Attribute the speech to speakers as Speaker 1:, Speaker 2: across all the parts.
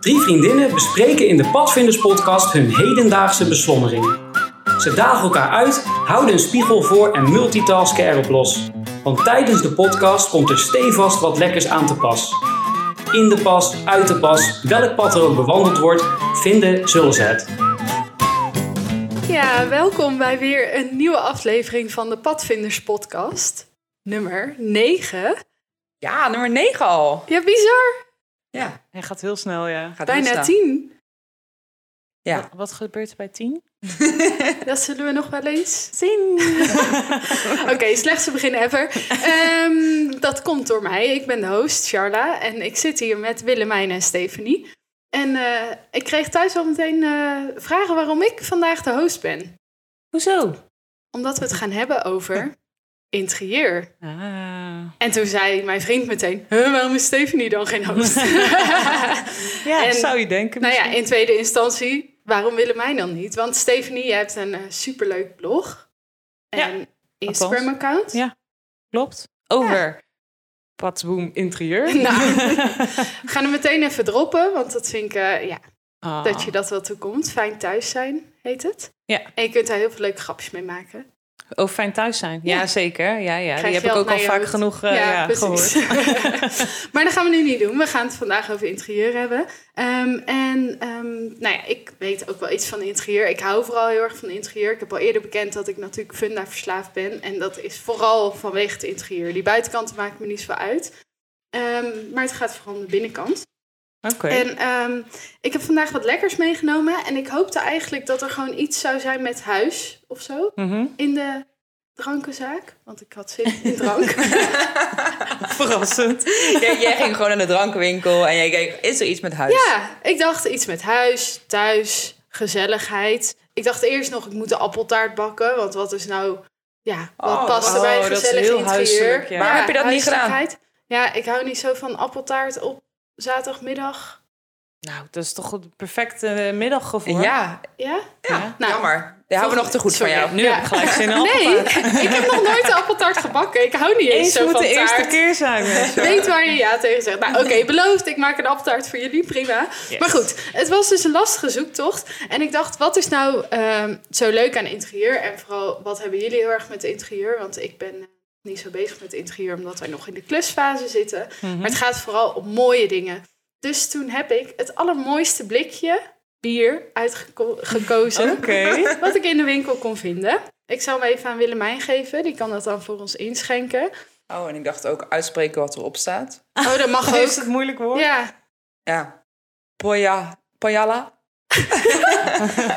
Speaker 1: Drie vriendinnen bespreken in de Padvinderspodcast hun hedendaagse beslommeringen. Ze dagen elkaar uit, houden een spiegel voor en multitasken erop los. Want tijdens de podcast komt er stevast wat lekkers aan te pas. In de pas, uit de pas, welk pad er ook bewandeld wordt, vinden zullen ze het.
Speaker 2: Ja, welkom bij weer een nieuwe aflevering van de Padvinders Podcast. Nummer 9.
Speaker 3: Ja, nummer 9 al.
Speaker 2: Ja, bizar.
Speaker 3: Ja,
Speaker 4: Hij gaat heel snel, ja.
Speaker 3: gaat
Speaker 2: Bijna
Speaker 3: rustig.
Speaker 2: 10.
Speaker 3: Ja.
Speaker 4: Wat, wat gebeurt er bij tien?
Speaker 2: Dat zullen we nog wel eens.
Speaker 4: Tien!
Speaker 2: Oké, slechtste begin ever. Ehm, dat komt door mij. Ik ben de host, Charla. En ik zit hier met Willemijn en Stefanie. En eh, ik kreeg thuis al meteen eh, vragen waarom ik vandaag de host ben.
Speaker 4: Hoezo?
Speaker 2: Omdat we het gaan hebben over interieur.
Speaker 4: Ah.
Speaker 2: En toen zei mijn vriend meteen, "Huh, waarom is Stefanie dan geen host?
Speaker 4: Ja,
Speaker 2: En-
Speaker 4: zou je denken.
Speaker 2: nou ja,
Speaker 4: misschien.
Speaker 2: in tweede instantie, waarom willen mij dan niet? Want Stefanie, je hebt een eh, superleuk blog
Speaker 4: Ja,
Speaker 2: en Instagram-account.
Speaker 4: Ja. Klopt. Over. Patsboom interieur.
Speaker 2: Nou, we gaan hem meteen even droppen, want dat vind ik, eh, ja,
Speaker 4: Ah.
Speaker 2: dat je dat wel toekomt. Fijn thuis zijn, heet het.
Speaker 4: Ja.
Speaker 2: En je kunt daar heel veel leuke grapjes mee maken.
Speaker 4: Oh, fijn thuis zijn. Ja,
Speaker 2: Ja.
Speaker 4: zeker. Ja, ja. Die
Speaker 2: Krijg
Speaker 4: heb
Speaker 2: je
Speaker 4: ik
Speaker 2: wel
Speaker 4: ook al
Speaker 2: naar je
Speaker 4: vaak
Speaker 2: hoed.
Speaker 4: genoeg eh, ja, gehoord.
Speaker 2: maar dat gaan we nu niet doen. We gaan het vandaag over interieur hebben. Ehm, en ehm, nou ja, ik weet ook wel iets van interieur. Ik hou vooral heel erg van interieur. Ik heb al eerder bekend dat ik natuurlijk funda verslaafd ben. En dat is vooral vanwege het interieur. Die buitenkant maakt me niet zo uit. Ehm, maar het gaat vooral om de binnenkant.
Speaker 4: Oké.
Speaker 2: En ehm, ik heb vandaag wat lekkers meegenomen. En ik hoopte eigenlijk dat er gewoon iets zou zijn met huis of zo.
Speaker 4: Mhm.
Speaker 2: In de drankenzaak. Want ik had zin in drank.
Speaker 4: Verrassend.
Speaker 3: Jij, jij ging gewoon naar de drankenwinkel en jij keek, is er iets met huis?
Speaker 2: Ja, ik dacht iets met huis, thuis, gezelligheid. Ik dacht eerst nog, ik moet de appeltaart bakken. Want wat is nou, ja, wat
Speaker 3: Oh,
Speaker 2: past er bij een
Speaker 4: oh, dat is
Speaker 2: gezellig
Speaker 4: heel
Speaker 2: interieur?
Speaker 4: huiselijk, ja.
Speaker 3: Waarom heb je dat niet gedaan?
Speaker 2: huiselijkheid. Ja, ik hou niet zo van appeltaart op zaterdagmiddag.
Speaker 4: Nou, dat is toch het perfecte eh, middaggevoel.
Speaker 3: Ja,
Speaker 2: Ja?
Speaker 3: ja,
Speaker 2: Nou,
Speaker 3: jammer. Daar houden we nog te goed
Speaker 2: sorry.
Speaker 3: van jou.
Speaker 4: Nu
Speaker 2: Ja.
Speaker 4: heb ik gelijk zin in
Speaker 2: Nee,
Speaker 4: appeltaart.
Speaker 2: ik heb nog nooit de appeltaart gebakken. Ik hou niet eens
Speaker 4: Eens
Speaker 2: zo
Speaker 4: moet
Speaker 2: van
Speaker 4: de eerste
Speaker 2: taart.
Speaker 4: keer zijn, mensen.
Speaker 2: Weet waar je ja tegen zegt. Nou, oké, beloofd. Ik maak een appeltaart voor jullie. Prima.
Speaker 4: Yes.
Speaker 2: Maar goed, het was dus een lastige zoektocht. En ik dacht, wat is nou ehm, zo leuk aan interieur? En vooral, wat hebben jullie heel erg met interieur? Want ik ben eh, niet zo bezig met interieur, omdat wij nog in de klusfase zitten.
Speaker 4: Mhm.
Speaker 2: Maar het gaat vooral om mooie dingen. Dus toen heb ik het allermooiste blikje bier uitgekozen.
Speaker 4: Oké.
Speaker 2: Wat ik in de winkel kon vinden. Ik zal hem even aan Willemijn geven. Die kan dat dan voor ons inschenken.
Speaker 3: Oh, en ik dacht ook uitspreken wat erop staat.
Speaker 2: Oh, dat mag
Speaker 4: Is
Speaker 2: ook.
Speaker 4: het moeilijk woord?
Speaker 2: Ja,
Speaker 3: Ja. Poya, Poyala.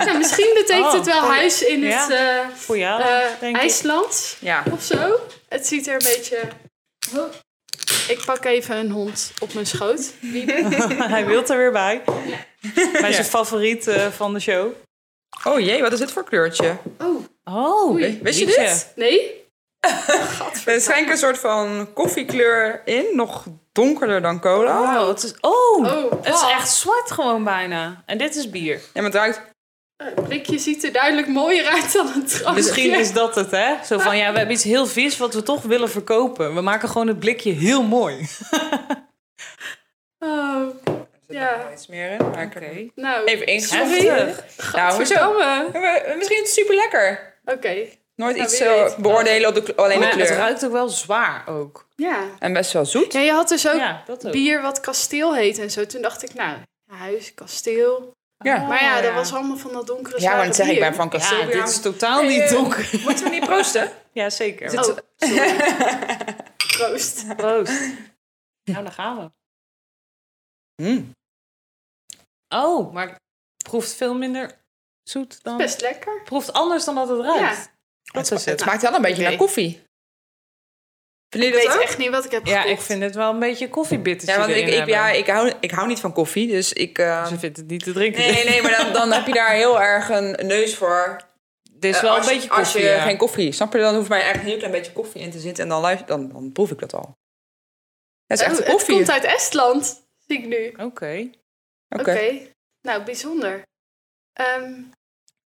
Speaker 2: Nou, misschien betekent
Speaker 4: Oh,
Speaker 2: het wel
Speaker 4: oh,
Speaker 2: huis in
Speaker 4: ja.
Speaker 2: het eh
Speaker 4: Voor jou,
Speaker 2: eh,
Speaker 4: denk ik.
Speaker 2: IJsland
Speaker 3: Ja.
Speaker 2: of zo. Het ziet er een beetje... Oh. Ik pak even een hond op mijn schoot. Wie dit?
Speaker 4: Hij wil er weer bij. Bij
Speaker 3: Ja.
Speaker 4: zijn favoriet eh, van de show.
Speaker 3: Oh jee, wat is dit voor kleurtje?
Speaker 2: Oh,
Speaker 4: Oh,
Speaker 2: Oei.
Speaker 3: Wist je
Speaker 4: jeetje.
Speaker 3: dit?
Speaker 2: nee?
Speaker 3: Er schijnt een soort van koffiekleur in, nog donkerder dan cola.
Speaker 4: Wauw, het is... Oh,
Speaker 2: Oh,
Speaker 4: het is
Speaker 2: wow.
Speaker 4: echt zwart gewoon bijna. En dit is bier.
Speaker 3: Ja, maar het ruikt...
Speaker 2: Eh, Het blikje ziet er duidelijk mooier uit dan een drankje.
Speaker 4: Misschien is dat het, hè? Zo van, ja, we hebben iets heel vis wat we toch willen verkopen. We maken gewoon het blikje heel mooi.
Speaker 2: Oh,
Speaker 3: Er zit nog
Speaker 2: Ja.
Speaker 3: wel iets meer in, maar ik heb-
Speaker 2: nou.
Speaker 3: Even ingeschreven.
Speaker 4: Heftig.
Speaker 3: Nou, hoezo?
Speaker 2: Godverdomme.
Speaker 3: Misschien is het super lekker.
Speaker 2: Oké,
Speaker 3: Nooit
Speaker 2: Nou,
Speaker 3: iets
Speaker 2: wie
Speaker 3: zo
Speaker 2: weet.
Speaker 3: beoordelen op de, kle- alleen de
Speaker 4: Maar het
Speaker 3: kleur.
Speaker 4: ruikt ook wel zwaar ook.
Speaker 2: ja.
Speaker 3: En best wel zoet.
Speaker 2: ja. Je had dus ook
Speaker 4: Ja, dat ook.
Speaker 2: bier wat kasteel heet en zo. Toen dacht ik, nou, huis, kasteel.
Speaker 3: Ja.
Speaker 2: Maar ja,
Speaker 4: Oh,
Speaker 2: dat was allemaal van dat donkere
Speaker 3: Ja, maar
Speaker 2: zware
Speaker 3: dat zeg ik, ik
Speaker 2: bier.
Speaker 3: ben van
Speaker 4: Ja,
Speaker 3: Castilbia.
Speaker 4: dit is totaal niet
Speaker 3: eh,
Speaker 4: donker.
Speaker 3: Moeten we niet proosten?
Speaker 4: Ja, zeker.
Speaker 2: Oh, sorry. Proost.
Speaker 4: Proost. Nou, daar gaan we.
Speaker 3: Mm.
Speaker 4: Oh, maar het proeft veel minder zoet dan... Het
Speaker 2: Best lekker.
Speaker 4: proeft anders dan dat het ruikt.
Speaker 2: Ja.
Speaker 4: Dat
Speaker 3: het,
Speaker 4: is het.
Speaker 3: smaakt wel een beetje
Speaker 2: Oké.
Speaker 3: naar koffie. Vinden
Speaker 2: Ik
Speaker 3: jullie
Speaker 2: weet
Speaker 3: dat ook?
Speaker 2: echt niet wat ik heb
Speaker 4: Ja,
Speaker 2: gekocht.
Speaker 4: ik vind het wel een beetje koffiebittertje
Speaker 3: Ja, want ik,
Speaker 4: erin
Speaker 3: ik,
Speaker 4: hebben.
Speaker 3: ja, ik, hou, ik hou niet van koffie, dus ik... eh,
Speaker 4: Ze vindt het niet te drinken.
Speaker 3: Nee, nee, maar dan, dan heb je daar heel erg een neus voor.
Speaker 4: Dit is
Speaker 3: Eh,
Speaker 4: wel
Speaker 3: als,
Speaker 4: een beetje
Speaker 3: als
Speaker 4: koffie.
Speaker 3: je
Speaker 4: ja.
Speaker 3: geen koffie... Snap je, dan hoeft mij echt een heel klein beetje koffie in te zitten. En dan, luister, dan, dan proef ik dat al. Dat is
Speaker 2: Oh,
Speaker 3: echt
Speaker 2: het
Speaker 3: koffie.
Speaker 2: komt uit Estland, zie ik nu. Oké.
Speaker 4: Oké.
Speaker 3: Oké.
Speaker 2: Nou, bijzonder. Ehm,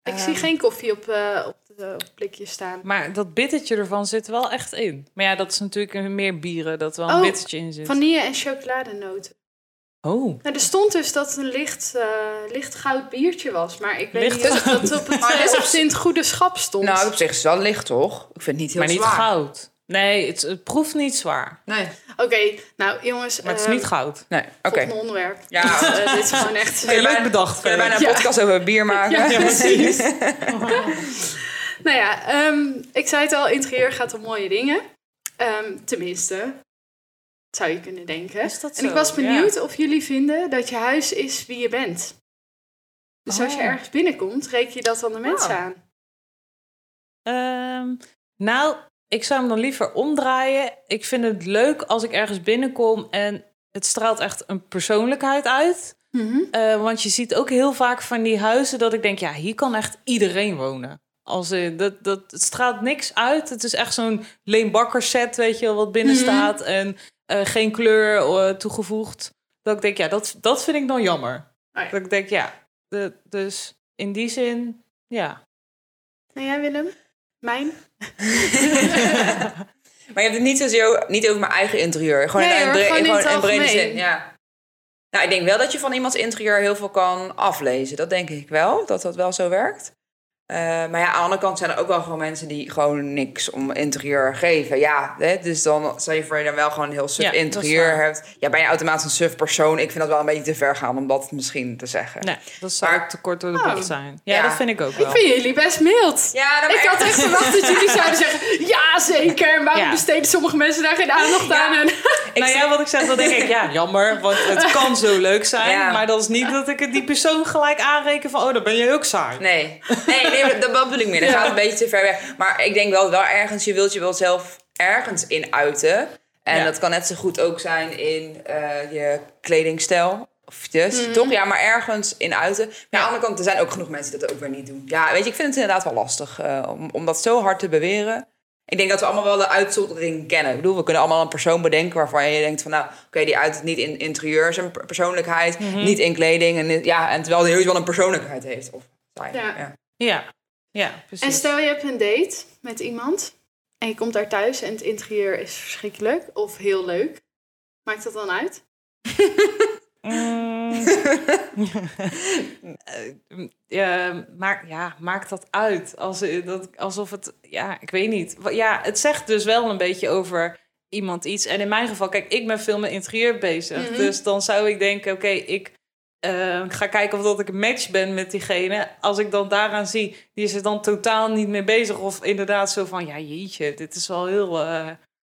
Speaker 2: ik
Speaker 3: Ehm.
Speaker 2: zie geen koffie op, eh op de op het blikje staan.
Speaker 4: Maar dat bittertje ervan zit wel echt in. Maar ja, dat is natuurlijk een- meer bieren dat er wel een
Speaker 2: Oh,
Speaker 4: bittertje in zit.
Speaker 2: Vanille en chocoladenoten.
Speaker 4: Oh.
Speaker 2: Nou, er stond dus dat het een licht, eh, licht goud biertje was. Maar ik weet
Speaker 4: Licht
Speaker 2: niet of dat op het, eh,
Speaker 3: Maar is
Speaker 2: op het goede schap stond.
Speaker 3: Nou, op zich is het wel licht, toch? Ik vind het niet heel
Speaker 4: maar niet
Speaker 3: zwaar.
Speaker 4: goud. Nee, het, het proeft niet zwaar.
Speaker 3: Nee.
Speaker 2: Oké, nou jongens.
Speaker 4: Maar het is
Speaker 3: Eh,
Speaker 2: ehm,
Speaker 4: niet goud.
Speaker 3: Nee, oké.
Speaker 2: volgende onderwerp.
Speaker 3: Ja.
Speaker 2: Eh, dit is gewoon echt...
Speaker 3: Hey, leuk
Speaker 4: bedacht.
Speaker 3: We kunnen bijna een
Speaker 2: Ja.
Speaker 3: podcast over bier maken.
Speaker 2: Ja.
Speaker 4: precies.
Speaker 2: Nou ja, ehm, ik zei het al, interieur gaat om mooie dingen. Ehm, tenminste, zou je kunnen denken.
Speaker 4: Is dat
Speaker 2: En ik
Speaker 4: zo?
Speaker 2: was
Speaker 4: Ja.
Speaker 2: benieuwd of jullie vinden dat je huis is wie je bent. Dus als je
Speaker 4: Oh.
Speaker 2: ergens binnenkomt, reken je dat dan de mensen
Speaker 4: Oh.
Speaker 2: aan.
Speaker 4: Ehm, nou, ik zou hem dan liever omdraaien. Ik vind het leuk als ik ergens binnenkom en het straalt echt een persoonlijkheid uit. Eh, want je ziet ook heel vaak van die huizen dat ik denk, ja, hier kan echt iedereen wonen. Als, eh, dat, dat, het straalt niks uit. Het is echt zo'n leenbakkerset, weet je wel, wat binnen
Speaker 2: Mhm.
Speaker 4: staat. En eh, geen kleur eh, toegevoegd. Dat ik denk, ja, dat, dat vind ik dan jammer.
Speaker 2: Oh ja.
Speaker 4: Dat ik denk, ja, de- dus in die zin, ja.
Speaker 2: En jij Nou Willem? Mijn?
Speaker 3: Maar je hebt het niet zozeer niet over mijn eigen interieur. Gewoon
Speaker 2: Nee,
Speaker 3: in,
Speaker 2: hoor,
Speaker 3: bre-
Speaker 2: gewoon in
Speaker 3: gewoon
Speaker 2: het
Speaker 3: in brede
Speaker 2: algemeen.
Speaker 3: zin. Ja. Nou, ik denk wel dat je van iemands interieur heel veel kan aflezen. Dat denk ik wel, dat dat wel zo werkt. Eh, maar ja, aan de andere kant zijn er ook wel gewoon mensen die gewoon niks om interieur geven. Ja, hè? dus dan stel je voor je dan wel gewoon een heel suf
Speaker 4: Ja, dat is
Speaker 3: interieur
Speaker 4: waar.
Speaker 3: hebt. Ja, ben je automatisch een suf persoon. Ik vind dat wel een beetje te ver gaan om dat misschien te zeggen.
Speaker 4: Nee, dat zou
Speaker 3: Maar-
Speaker 4: ook te kort door de
Speaker 2: Oh.
Speaker 4: bocht zijn. Ja,
Speaker 3: Ja.
Speaker 4: dat vind ik ook wel.
Speaker 2: Ik vind jullie best mild.
Speaker 3: Ja, dat
Speaker 2: Ik had echt verwacht dat jullie zouden zeggen, ja zeker, en waarom
Speaker 4: Ja.
Speaker 2: besteden sommige mensen daar geen aandacht aan? En
Speaker 4: nou ja, wat ik zeg, dan denk ik, ja, jammer, want het kan zo leuk zijn.
Speaker 3: Ja.
Speaker 4: Maar dat is niet dat ik het die persoon gelijk aanreken van, oh, dan ben jij ook saai.
Speaker 3: Nee, nee, nee maar dat, dat bedoel ik meer. Dat gaat een beetje te ver weg. Maar ik denk wel, wel ergens, je wilt je wel zelf ergens in uiten. En
Speaker 4: Ja.
Speaker 3: dat kan net zo goed ook zijn in eh, je kledingstijl. Of dus, toch? Ja, maar ergens in uiten. Maar aan de andere kant, er zijn ook genoeg mensen die dat ook weer niet doen. Ja, weet je, ik vind het inderdaad wel lastig eh, om, om dat zo hard te beweren. Ik denk dat we allemaal wel de uitzondering kennen. Ik bedoel, we kunnen allemaal een persoon bedenken waarvan je denkt van... nou, oké, die uit het niet in interieur zijn per- persoonlijkheid,
Speaker 4: Mhm.
Speaker 3: niet in kleding. En, in- ja, en terwijl die heus wel een persoonlijkheid heeft. Of, zijn,
Speaker 2: Ja.
Speaker 3: ja.
Speaker 4: Ja, ja, precies.
Speaker 2: En stel je hebt een date met iemand en je komt daar thuis en het interieur is verschrikkelijk of heel leuk. Maakt dat dan uit?
Speaker 4: Mm. Eh, eh, maar ja, maakt dat uit? Als, eh, dat, alsof het, ja, ik weet niet. Wa- Ja, het zegt dus wel een beetje over iemand iets. En in mijn geval, kijk, ik ben veel met interieur bezig.
Speaker 2: Mhm.
Speaker 4: Dus dan zou ik denken, oké, ik eh, ga kijken of dat ik een match ben met diegene. Als ik dan daaraan zie, die is er dan totaal niet mee bezig. Of inderdaad zo van, ja, jeetje, dit is wel heel eh,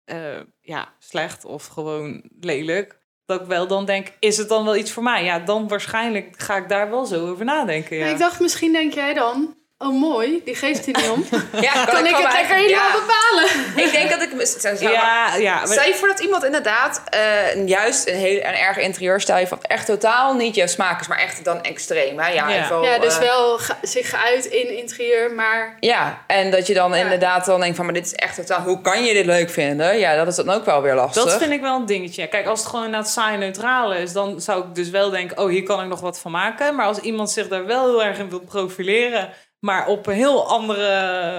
Speaker 4: eh, ja, slecht of gewoon lelijk. Dat ik wel dan denk, is het dan wel iets voor mij? Ja, dan waarschijnlijk ga ik daar wel zo over nadenken. Ja.
Speaker 2: En ik dacht, misschien denk jij dan, oh mooi, die geeft hij niet om.
Speaker 3: Ja, kan,
Speaker 2: kan ik
Speaker 3: wel
Speaker 2: het lekker
Speaker 3: eigenlijk-
Speaker 2: helemaal
Speaker 3: ja.
Speaker 2: bepalen?
Speaker 3: Ik denk dat ik... Zou, zou-
Speaker 4: ja, ja, maar-
Speaker 3: Stel je voor dat iemand inderdaad eh, een- juist een heel een erg interieurstijl van echt totaal niet jouw smaak is, maar echt dan extreem. Hè? Ja,
Speaker 4: Ja.
Speaker 3: in geval,
Speaker 2: Ja, dus
Speaker 3: eh,
Speaker 2: wel ge- zich geuit in interieur, maar
Speaker 3: Ja, en dat je dan
Speaker 2: Ja.
Speaker 3: inderdaad dan denkt van, maar dit is echt totaal... Hoe kan je dit leuk vinden? Ja, dat is dan ook wel weer lastig.
Speaker 4: dat vind ik wel een dingetje. ja. Kijk, als het gewoon inderdaad saai en neutraal is, dan zou ik dus wel denken, oh, hier kan ik nog wat van maken. Maar als iemand zich daar wel heel erg in wil profileren, maar op een heel andere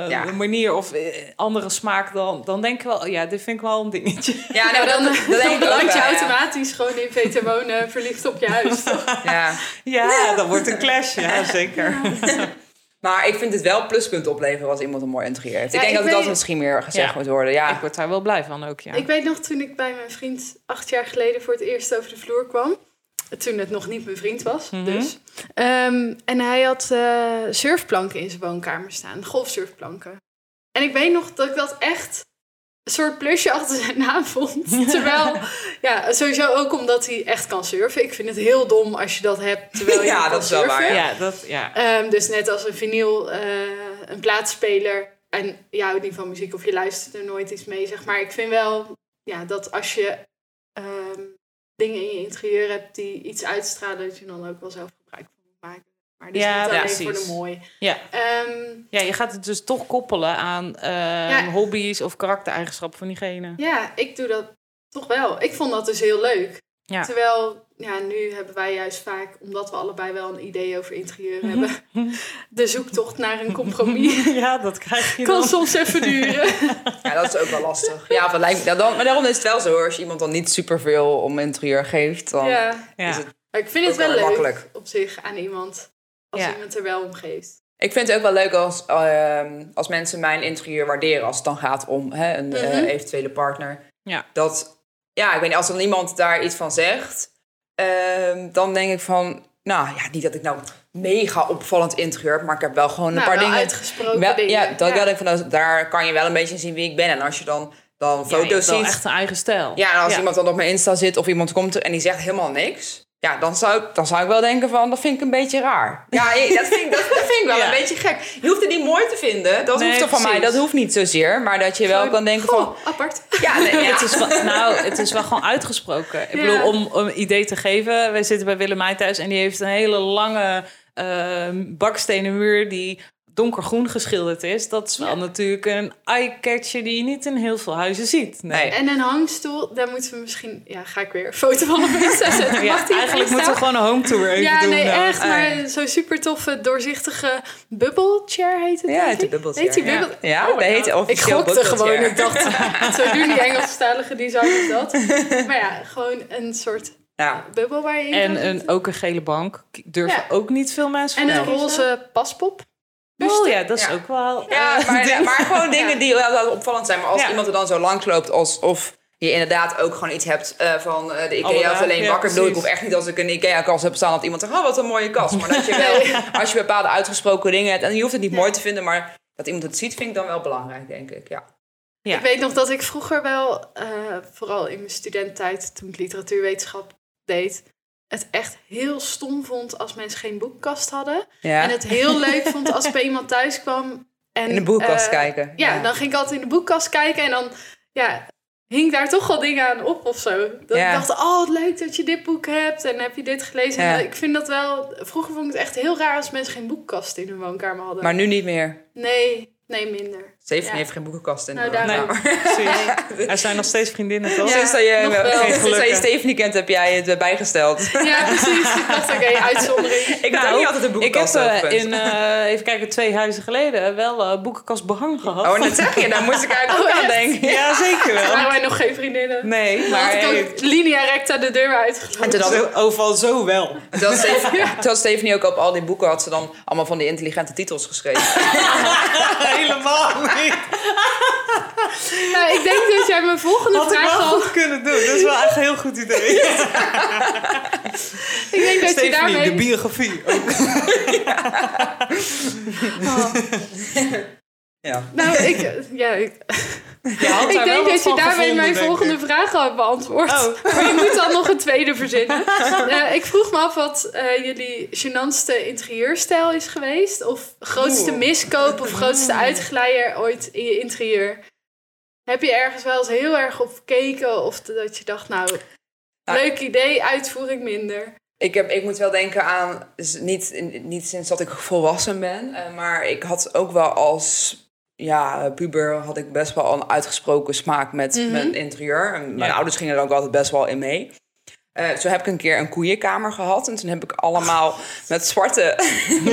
Speaker 3: Ja.
Speaker 4: manier of eh, andere smaak, dan, dan denk ik wel, oh ja, dit vind ik wel een dingetje.
Speaker 3: Ja, nou, dat, dat
Speaker 2: dan
Speaker 3: denk ik ook eh,
Speaker 2: beland je
Speaker 3: wel, ja.
Speaker 2: automatisch gewoon in Peter wonen, verliefd op je huis.
Speaker 3: Ja.
Speaker 4: Ja, dat wordt een clash, ja, zeker.
Speaker 3: Maar ik vind het wel pluspunten opleveren als iemand een mooi interieur heeft.
Speaker 2: Ja,
Speaker 3: ik denk
Speaker 2: ik
Speaker 3: dat dat
Speaker 2: weet-
Speaker 3: misschien meer gezegd
Speaker 4: Ja.
Speaker 3: moet worden. Ja.
Speaker 4: Ik word daar wel blij van ook, ja.
Speaker 2: Ik weet nog toen ik bij mijn vriend acht jaar geleden voor het eerst over de vloer kwam. Toen het nog niet mijn vriend was,
Speaker 4: Mhm.
Speaker 2: dus. Ehm, en hij had eh, surfplanken in zijn woonkamer staan. Golfsurfplanken. En ik weet nog dat ik dat echt een soort plusje achter zijn naam vond. Terwijl, ja, sowieso ook omdat hij echt kan surfen. Ik vind het heel dom als je dat hebt terwijl je
Speaker 3: Ja,
Speaker 2: kan
Speaker 3: dat is wel
Speaker 2: surfen.
Speaker 3: waar,
Speaker 4: ja, dat, ja.
Speaker 2: Ehm, dus net als een vinyl, eh, een plaatspeler. En je houdt niet van muziek of je luistert er nooit iets mee, zeg maar. Ik vind wel ja, dat als je ehm, dingen in je interieur hebt die iets uitstralen, dat je dan ook wel zelf gebruik van moet maken. Maar dit
Speaker 4: Ja,
Speaker 2: is niet alleen
Speaker 4: precies.
Speaker 2: voor de mooi.
Speaker 4: Ja.
Speaker 2: Ehm,
Speaker 4: Ja, je gaat het dus toch koppelen aan eh,
Speaker 2: Ja.
Speaker 4: hobby's of karaktereigenschappen van diegene.
Speaker 2: ja, ik doe dat toch wel. Ik vond dat dus heel leuk.
Speaker 4: Ja.
Speaker 2: Terwijl, ja, nu hebben wij juist vaak, omdat we allebei wel een idee over interieur hebben, de zoektocht naar een compromis
Speaker 4: ja, dat krijg je
Speaker 2: kan
Speaker 4: dan.
Speaker 2: soms even duren.
Speaker 3: Ja, dat is ook wel lastig. Ja, dat lijkt me, nou, dan, maar daarom is het wel zo hoor. Als je iemand dan niet superveel om interieur geeft, dan
Speaker 2: Ja.
Speaker 3: is
Speaker 4: Ja.
Speaker 3: het...
Speaker 2: Maar ik vind het
Speaker 3: Ook wel
Speaker 2: wel leuk
Speaker 3: makkelijk.
Speaker 2: op zich aan iemand, als
Speaker 4: Ja.
Speaker 2: iemand er wel om geeft.
Speaker 3: Ik vind het ook wel leuk als, ehm, als mensen mijn interieur waarderen. Als het dan gaat om hè, een eh,
Speaker 2: Mhm.
Speaker 3: eventuele partner.
Speaker 4: Ja.
Speaker 3: Dat, ja, ik weet niet, als dan iemand daar iets van zegt, ehm, dan denk ik van... Nou ja, niet dat ik nou mega opvallend interieur heb, maar ik heb wel gewoon een
Speaker 2: nou,
Speaker 3: paar
Speaker 2: wel
Speaker 3: dingen...
Speaker 2: uitgesproken
Speaker 3: Wel-
Speaker 2: dingen.
Speaker 3: Ja, dat wel denk ik van, nou, daar kan je wel een beetje in zien wie ik ben. En als je dan, dan
Speaker 4: Ja, je hebt
Speaker 3: foto's
Speaker 4: wel
Speaker 3: ziet...
Speaker 4: echt een eigen stijl.
Speaker 3: Ja, en als iemand dan op mijn Insta zit of iemand komt er en die zegt helemaal niks. Ja, dan zou, ik- dan zou ik wel denken van, dat vind ik een beetje raar. Ja, je- dat vind, ik- dat, dat vind ik wel
Speaker 4: Ja.
Speaker 3: een beetje gek. Je hoeft het niet mooi te vinden. Dat
Speaker 4: Nee,
Speaker 3: hoeft er van mij,
Speaker 4: precies.
Speaker 3: dat hoeft niet zozeer. Maar dat je wel kan denken van...
Speaker 2: Goh, apart.
Speaker 3: Ja, nee, ja.
Speaker 4: Het is wel, nou, het is wel gewoon uitgesproken. Ik
Speaker 2: Ja.
Speaker 4: bedoel, om, om een idee te geven. Wij zitten bij Willemijn thuis en die heeft een hele lange eh, bakstenen muur die donkergroen geschilderd is. Dat is wel natuurlijk een eye-catcher die je niet in heel veel huizen ziet. Nee.
Speaker 2: En een hangstoel, daar moeten we misschien... Ja, ga ik weer een foto van op Insta zetten.
Speaker 4: Ja,
Speaker 2: Mag die op
Speaker 4: eigenlijk
Speaker 2: Insta?
Speaker 4: moeten we gewoon een home tour even
Speaker 2: Ja,
Speaker 4: doen. nou. eh.
Speaker 2: nee,
Speaker 4: dan.
Speaker 2: echt. Maar zo'n super toffe, doorzichtige bubble chair heet het.
Speaker 3: Ja,
Speaker 2: denk
Speaker 3: heet de
Speaker 2: ik?
Speaker 3: bubble
Speaker 2: Heet die
Speaker 3: chair, ja.
Speaker 2: bubble...
Speaker 3: Ja,
Speaker 2: my
Speaker 3: dat heet
Speaker 2: God.
Speaker 3: officieel
Speaker 2: Ik gokte
Speaker 3: bubble
Speaker 2: gewoon,
Speaker 3: chair.
Speaker 2: ik dacht, zo doen die Engelstalige designers dat. Maar ja, gewoon een soort
Speaker 3: Ja.
Speaker 2: bubbel waar je in kan
Speaker 4: En een,
Speaker 2: zitten.
Speaker 4: ook een gele bank. Durven
Speaker 2: Ja.
Speaker 4: ook niet veel mensen
Speaker 2: en
Speaker 4: voor
Speaker 2: een
Speaker 4: te kiezen.
Speaker 2: roze paspop.
Speaker 4: Oh ja, dat is
Speaker 3: Ja.
Speaker 4: ook wel...
Speaker 3: Ja,
Speaker 4: eh,
Speaker 3: maar, maar gewoon
Speaker 2: Ja.
Speaker 3: dingen die wel wel opvallend zijn. Maar als
Speaker 4: Ja.
Speaker 3: iemand er dan zo langs loopt alsof je inderdaad ook gewoon iets hebt eh, van eh, de Ikea is
Speaker 4: Allebei,
Speaker 3: alleen
Speaker 4: ja,
Speaker 3: wakker. Ik bedoel, ik
Speaker 4: precies.
Speaker 3: hoef echt niet als ik een Ikea-kast heb staan dat iemand zegt, oh wat een mooie kast. Maar dat je wel, als je bepaalde uitgesproken dingen hebt, en je hoeft het niet mooi te vinden, maar dat iemand het ziet, vind ik dan wel belangrijk, denk ik. Ja.
Speaker 4: Ja.
Speaker 2: Ik weet nog dat ik vroeger wel, eh, vooral in mijn studententijd, toen ik literatuurwetenschap deed, het echt heel stom vond als mensen geen boekkast hadden.
Speaker 3: ja.
Speaker 2: En het heel leuk vond als ik bij iemand thuis kwam. En,
Speaker 3: In de boekkast
Speaker 2: eh,
Speaker 3: kijken.
Speaker 2: Ja, dan ging ik altijd in de boekkast kijken en dan ja, hing daar toch wel dingen aan op of zo. Dat
Speaker 3: Ja.
Speaker 2: ik dacht, oh wat leuk dat je dit boek hebt en heb je dit gelezen. En
Speaker 3: Ja.
Speaker 2: dat- ik vind dat wel, vroeger vond ik het echt heel raar als mensen geen boekkast in hun woonkamer hadden.
Speaker 3: Maar nu niet meer.
Speaker 2: Nee, nee minder.
Speaker 3: Steven
Speaker 2: Ja.
Speaker 3: heeft geen boekenkast in de
Speaker 2: Nou,
Speaker 3: woonkamer.
Speaker 2: daarom.
Speaker 4: precies. Er zijn nog steeds vriendinnen, toch?
Speaker 2: Ja.
Speaker 3: Sinds dat je,
Speaker 2: nog wel.
Speaker 3: sinds dat je
Speaker 4: Gelukkig.
Speaker 3: Steven niet kent, heb jij het bijgesteld.
Speaker 2: Ja, precies. Ik dacht, oké, uitzondering.
Speaker 3: Ik
Speaker 4: Nou,
Speaker 3: heb ook niet altijd een
Speaker 4: Ik heb
Speaker 3: boekenkast
Speaker 4: eh,
Speaker 3: open.
Speaker 4: in, eh, even kijken, twee huizen geleden wel eh, boekenkastbehang gehad.
Speaker 3: Oh, dat zeg je. Daar moest ik eigenlijk
Speaker 2: Oh,
Speaker 3: ook aan
Speaker 2: echt?
Speaker 3: denken.
Speaker 4: Ja, zeker wel.
Speaker 2: Waren wij nog geen vriendinnen?
Speaker 4: Nee,
Speaker 2: Maar
Speaker 4: maar
Speaker 2: had ik
Speaker 4: eh,
Speaker 2: ook linea recta de deur
Speaker 3: En
Speaker 2: uitgelopen.
Speaker 3: toen had,
Speaker 4: zo- overal zo wel.
Speaker 3: toen had Steve- toen had Stefanie ook op al die boeken had ze dan allemaal van die intelligente titels geschreven.
Speaker 4: Helemaal niet.
Speaker 2: Nou, ik denk dat jij mijn volgende
Speaker 4: Had ik
Speaker 2: vraag
Speaker 4: wel
Speaker 2: al...
Speaker 4: goed kunnen doen. Dat is wel echt een heel goed idee.
Speaker 2: Ik denk dat je
Speaker 4: Stephanie,
Speaker 2: daarmee...
Speaker 4: de biografie.
Speaker 2: Oh.
Speaker 3: Ja.
Speaker 2: Nou, ik... Ja, ik,
Speaker 4: Je had
Speaker 2: ik
Speaker 4: daar wel
Speaker 2: denk
Speaker 4: wat
Speaker 2: dat je
Speaker 4: van
Speaker 2: daarmee
Speaker 4: gevonden,
Speaker 2: mijn
Speaker 4: denk
Speaker 2: volgende
Speaker 4: ik.
Speaker 2: vraag al hebt beantwoord.
Speaker 4: Oh.
Speaker 2: Maar je moet dan nog een tweede verzinnen. Eh, ik vroeg me af wat eh, jullie gênantste interieurstijl is geweest. Of grootste
Speaker 3: Oeh.
Speaker 2: miskoop of grootste uitglijer ooit in je interieur. Heb je ergens wel eens heel erg op gekeken? Of dat je dacht, nou,
Speaker 3: Nou,
Speaker 2: leuk idee, uitvoering minder.
Speaker 3: Ik, heb, ik moet wel denken aan, dus niet, niet sinds dat ik volwassen ben, eh, maar ik had ook wel als ja, puber had ik best wel een uitgesproken smaak met mijn interieur. En mijn
Speaker 4: Ja.
Speaker 3: ouders gingen er ook altijd best wel in mee. Eh, zo heb ik een keer een koeienkamer gehad. En toen heb ik allemaal met zwarte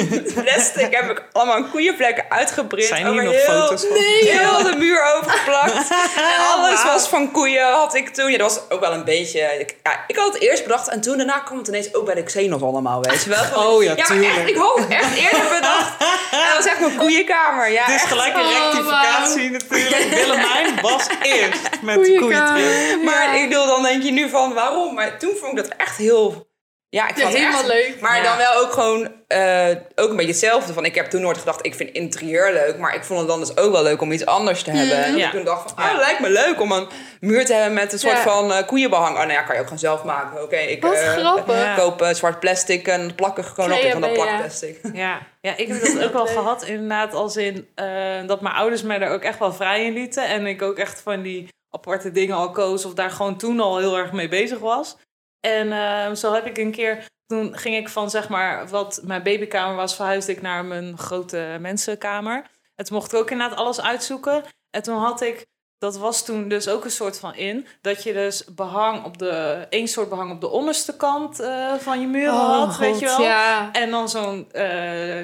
Speaker 3: plastic heb ik allemaal koeienplekken uitgeprint.
Speaker 4: Zijn hier
Speaker 3: over
Speaker 4: nog
Speaker 3: heel-
Speaker 4: foto's van?
Speaker 3: Heel de muur overgeplakt. En alles
Speaker 4: Oh, Wauw.
Speaker 3: was van koeien, had ik toen. Ja, dat was ook wel een beetje... Ik, ja, ik had het eerst bedacht en toen daarna kwam het ineens ook bij de Xenos allemaal, weet je wel. Gewoon-
Speaker 4: Oh, ja,
Speaker 3: maar echt,
Speaker 4: tuurlijk.
Speaker 3: ik had het echt eerder bedacht. En dat was echt mijn koeienkamer, ja.
Speaker 4: Het is
Speaker 3: echt.
Speaker 4: Dus gelijk een
Speaker 2: Oh,
Speaker 4: rectificatie natuurlijk. Willemijn was eerst met
Speaker 2: Goeie
Speaker 4: de koeientrip.
Speaker 2: kamer.
Speaker 3: Maar
Speaker 2: Ja.
Speaker 3: ik bedoel, dan denk je nu van waarom? Maar toen vond ik dat echt heel... Ja, ik
Speaker 2: Ja,
Speaker 3: vond het
Speaker 2: helemaal
Speaker 3: echt-
Speaker 2: leuk.
Speaker 3: Maar
Speaker 4: Ja.
Speaker 3: dan wel ook gewoon eh, ook een beetje hetzelfde. Van, ik heb toen nooit gedacht, ik vind interieur leuk. Maar ik vond het dan dus ook wel leuk om iets anders te hebben.
Speaker 2: Mhm.
Speaker 3: En
Speaker 4: Ja.
Speaker 3: ik toen dacht van, ah,
Speaker 4: Ja.
Speaker 3: het lijkt me leuk om een muur te hebben met een soort
Speaker 2: Ja.
Speaker 3: van eh, koeienbehang. Oh, nou ja, kan je ook gewoon zelf maken. Oké, ik
Speaker 2: Wat
Speaker 3: eh,
Speaker 2: grappig.
Speaker 4: Ja.
Speaker 3: koop eh, zwart plastic en plak er gewoon op in van dat
Speaker 2: Klei erbij, ja.
Speaker 3: plakplastic.
Speaker 4: Ja. ja, ik heb dat ook wel gehad inderdaad als in eh, dat mijn ouders mij daar ook echt wel vrij in lieten. En ik ook echt van die aparte dingen al koos of daar gewoon toen al heel erg mee bezig was. En ehm, zo heb ik een keer, toen ging ik van zeg maar wat mijn babykamer was, verhuisde ik naar mijn grote mensenkamer. En toen mocht ik ook inderdaad alles uitzoeken. En toen had ik dat was toen dus ook een soort van in. Dat je dus behang op de... één soort behang op de onderste kant eh, van je muren had, weet je wel.
Speaker 2: Oh Ja.
Speaker 4: En dan zo'n eh,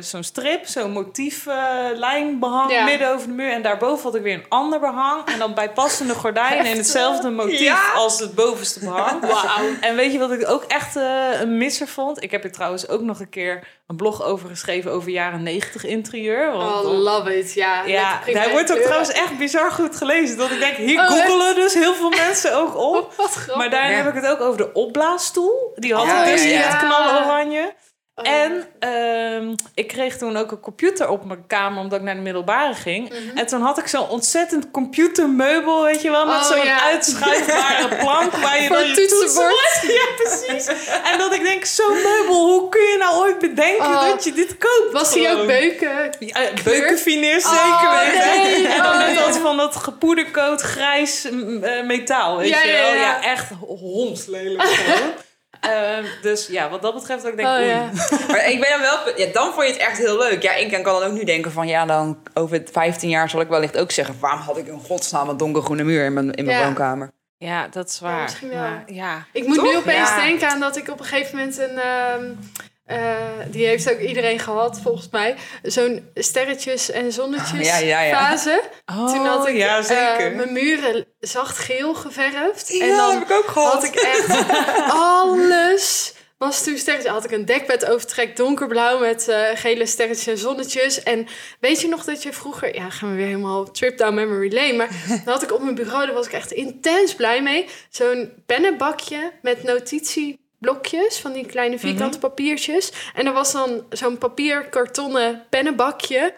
Speaker 4: zo'n strip, zo'n motief eh, lijnbehang
Speaker 2: Ja.
Speaker 4: midden over de muur. En daarboven had ik weer een ander behang. En dan bijpassende gordijnen in hetzelfde motief
Speaker 3: Ja?
Speaker 4: als het bovenste behang.
Speaker 2: Wauw.
Speaker 4: En weet je wat ik ook echt eh, een misser vond? Ik heb er trouwens ook nog een keer een blog over geschreven over jaren 90 interieur.
Speaker 2: Oh,
Speaker 4: Want,
Speaker 2: love it. Ja,
Speaker 4: ja, hij wordt ook trouwens echt bizar goed gelezen. Dat ik denk, hier
Speaker 2: Oh,
Speaker 4: googelen dus heel veel mensen ook op.
Speaker 2: Wat grappig.
Speaker 4: Maar daarin
Speaker 3: Ja.
Speaker 4: heb ik het ook over de opblaasstoel. Die had
Speaker 3: Ja,
Speaker 4: ik dus
Speaker 3: ja,
Speaker 4: in
Speaker 3: ja.
Speaker 4: het knaloranje.
Speaker 2: Oh.
Speaker 4: En ehm, ik kreeg toen ook een computer op mijn kamer, omdat ik naar de middelbare ging.
Speaker 2: Mhm.
Speaker 4: En toen had ik zo'n ontzettend computermeubel, weet je wel, met
Speaker 2: Oh,
Speaker 4: zo'n
Speaker 2: ja.
Speaker 4: uitschuifbare plank waar je
Speaker 2: Voor
Speaker 4: dan je
Speaker 2: het toetsenbord.
Speaker 4: toetsen- Ja, precies. En dat ik denk, zo'n meubel, hoe kun je nou ooit bedenken
Speaker 2: Oh.
Speaker 4: dat je dit koopt?
Speaker 2: Was hij ook
Speaker 3: Oh.
Speaker 4: Gewoon.
Speaker 2: beuken?
Speaker 4: Ja, beukenfineer zeker
Speaker 2: Oh,
Speaker 4: weten.
Speaker 2: nee.
Speaker 4: En dan
Speaker 2: Oh,
Speaker 4: net
Speaker 2: ja.
Speaker 4: als van dat gepoedercoat grijs m, eh, metaal, weet
Speaker 2: Ja,
Speaker 4: je wel.
Speaker 2: ja,
Speaker 4: Ja,
Speaker 2: ja.
Speaker 4: echt hondslelijk. gewoon. Ehm, dus ja, wat dat betreft, dat ik denk,
Speaker 2: Oh,
Speaker 4: oei.
Speaker 2: ja.
Speaker 3: Maar ik ben dan wel... Ja, dan vond je het echt heel leuk. Ja, ik kan kan dan ook nu denken van... Ja, dan over 15 jaar zal ik wellicht ook zeggen... Waarom had ik in godsnaam een donkergroene muur in mijn, in mijn
Speaker 2: Ja.
Speaker 3: woonkamer?
Speaker 4: Ja, dat is
Speaker 2: Ja,
Speaker 4: waar.
Speaker 2: misschien wel.
Speaker 4: Maar, ja.
Speaker 2: Ik moet nu
Speaker 3: Toch?
Speaker 2: opeens
Speaker 4: Ja.
Speaker 2: denken aan dat ik op een gegeven moment een... ehm, eh, die heeft ook iedereen gehad, volgens mij. Zo'n sterretjes- en zonnetjes
Speaker 3: Ja, ja, Oh, ja.
Speaker 2: fase. Toen had ik
Speaker 4: Oh, ja, zeker.
Speaker 2: eh, mijn muren zacht geel geverfd.
Speaker 3: Ja,
Speaker 2: en
Speaker 3: dat
Speaker 2: dan
Speaker 3: heb ik ook gehad.
Speaker 2: had ik echt alles. Was toen sterretjes. Had ik een dekbed overtrek donkerblauw met eh, gele sterretjes en zonnetjes. En weet je nog dat je vroeger... Ja, gaan we weer helemaal trip down memory lane. Maar dan had ik op mijn bureau, daar was ik echt intens blij mee. Zo'n pennenbakje met notitieblokjes van die
Speaker 3: Mhm.
Speaker 2: kleine vierkante papiertjes. En er was dan zo'n papier kartonnen pennenbakje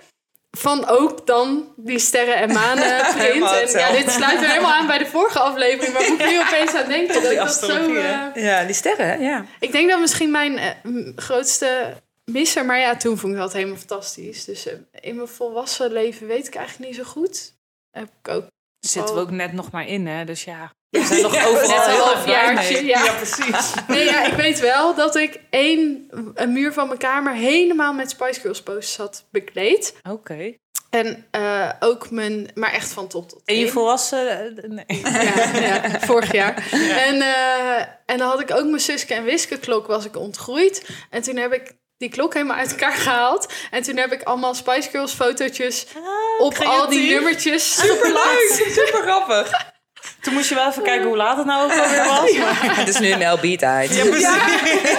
Speaker 2: van ook dan die sterren en manen print.
Speaker 3: Helemaal
Speaker 2: en ja,
Speaker 3: hetzelfde.
Speaker 2: dit sluit weer helemaal aan bij de vorige aflevering, maar moet ik nu opeens aan denken dat
Speaker 4: die
Speaker 2: ik dat zo...
Speaker 4: astrologie, hè?
Speaker 2: eh,
Speaker 3: Ja, die sterren, hè? ja.
Speaker 2: ik denk dat misschien mijn eh, m- grootste misser, maar ja, toen vond ik dat helemaal fantastisch. Dus eh, in mijn volwassen leven weet ik eigenlijk niet zo goed. Heb ik ook
Speaker 4: Zitten we
Speaker 2: Oh.
Speaker 4: ook net nog maar in, hè? Dus ja, we zijn nog
Speaker 3: Ja,
Speaker 4: overal
Speaker 3: net een
Speaker 4: heel erg
Speaker 2: halfjaartje,
Speaker 4: blij mee.
Speaker 2: ja.
Speaker 4: precies.
Speaker 2: Nee, ja, ik weet wel dat ik één een muur van mijn kamer helemaal met Spice Girls posters had bekleed.
Speaker 4: Oké.
Speaker 2: En eh, ook mijn, maar echt van top tot
Speaker 4: En je
Speaker 2: teen.
Speaker 4: volwassen... eh, Nee.
Speaker 2: Ja, ja, vorig jaar. En, eh, en dan had ik ook mijn Suske en Wiske klok was ik ontgroeid. En toen heb ik die klok helemaal uit elkaar gehaald. En toen heb ik allemaal Spice Girls fotootjes
Speaker 4: Ah,
Speaker 2: op al die
Speaker 4: creatief.
Speaker 2: nummertjes. Super
Speaker 3: Leuk, super grappig.
Speaker 4: Toen moest je wel even kijken hoe laat het nou ook alweer was.
Speaker 3: Het is nu een LB-tijd. Ja,
Speaker 4: precies.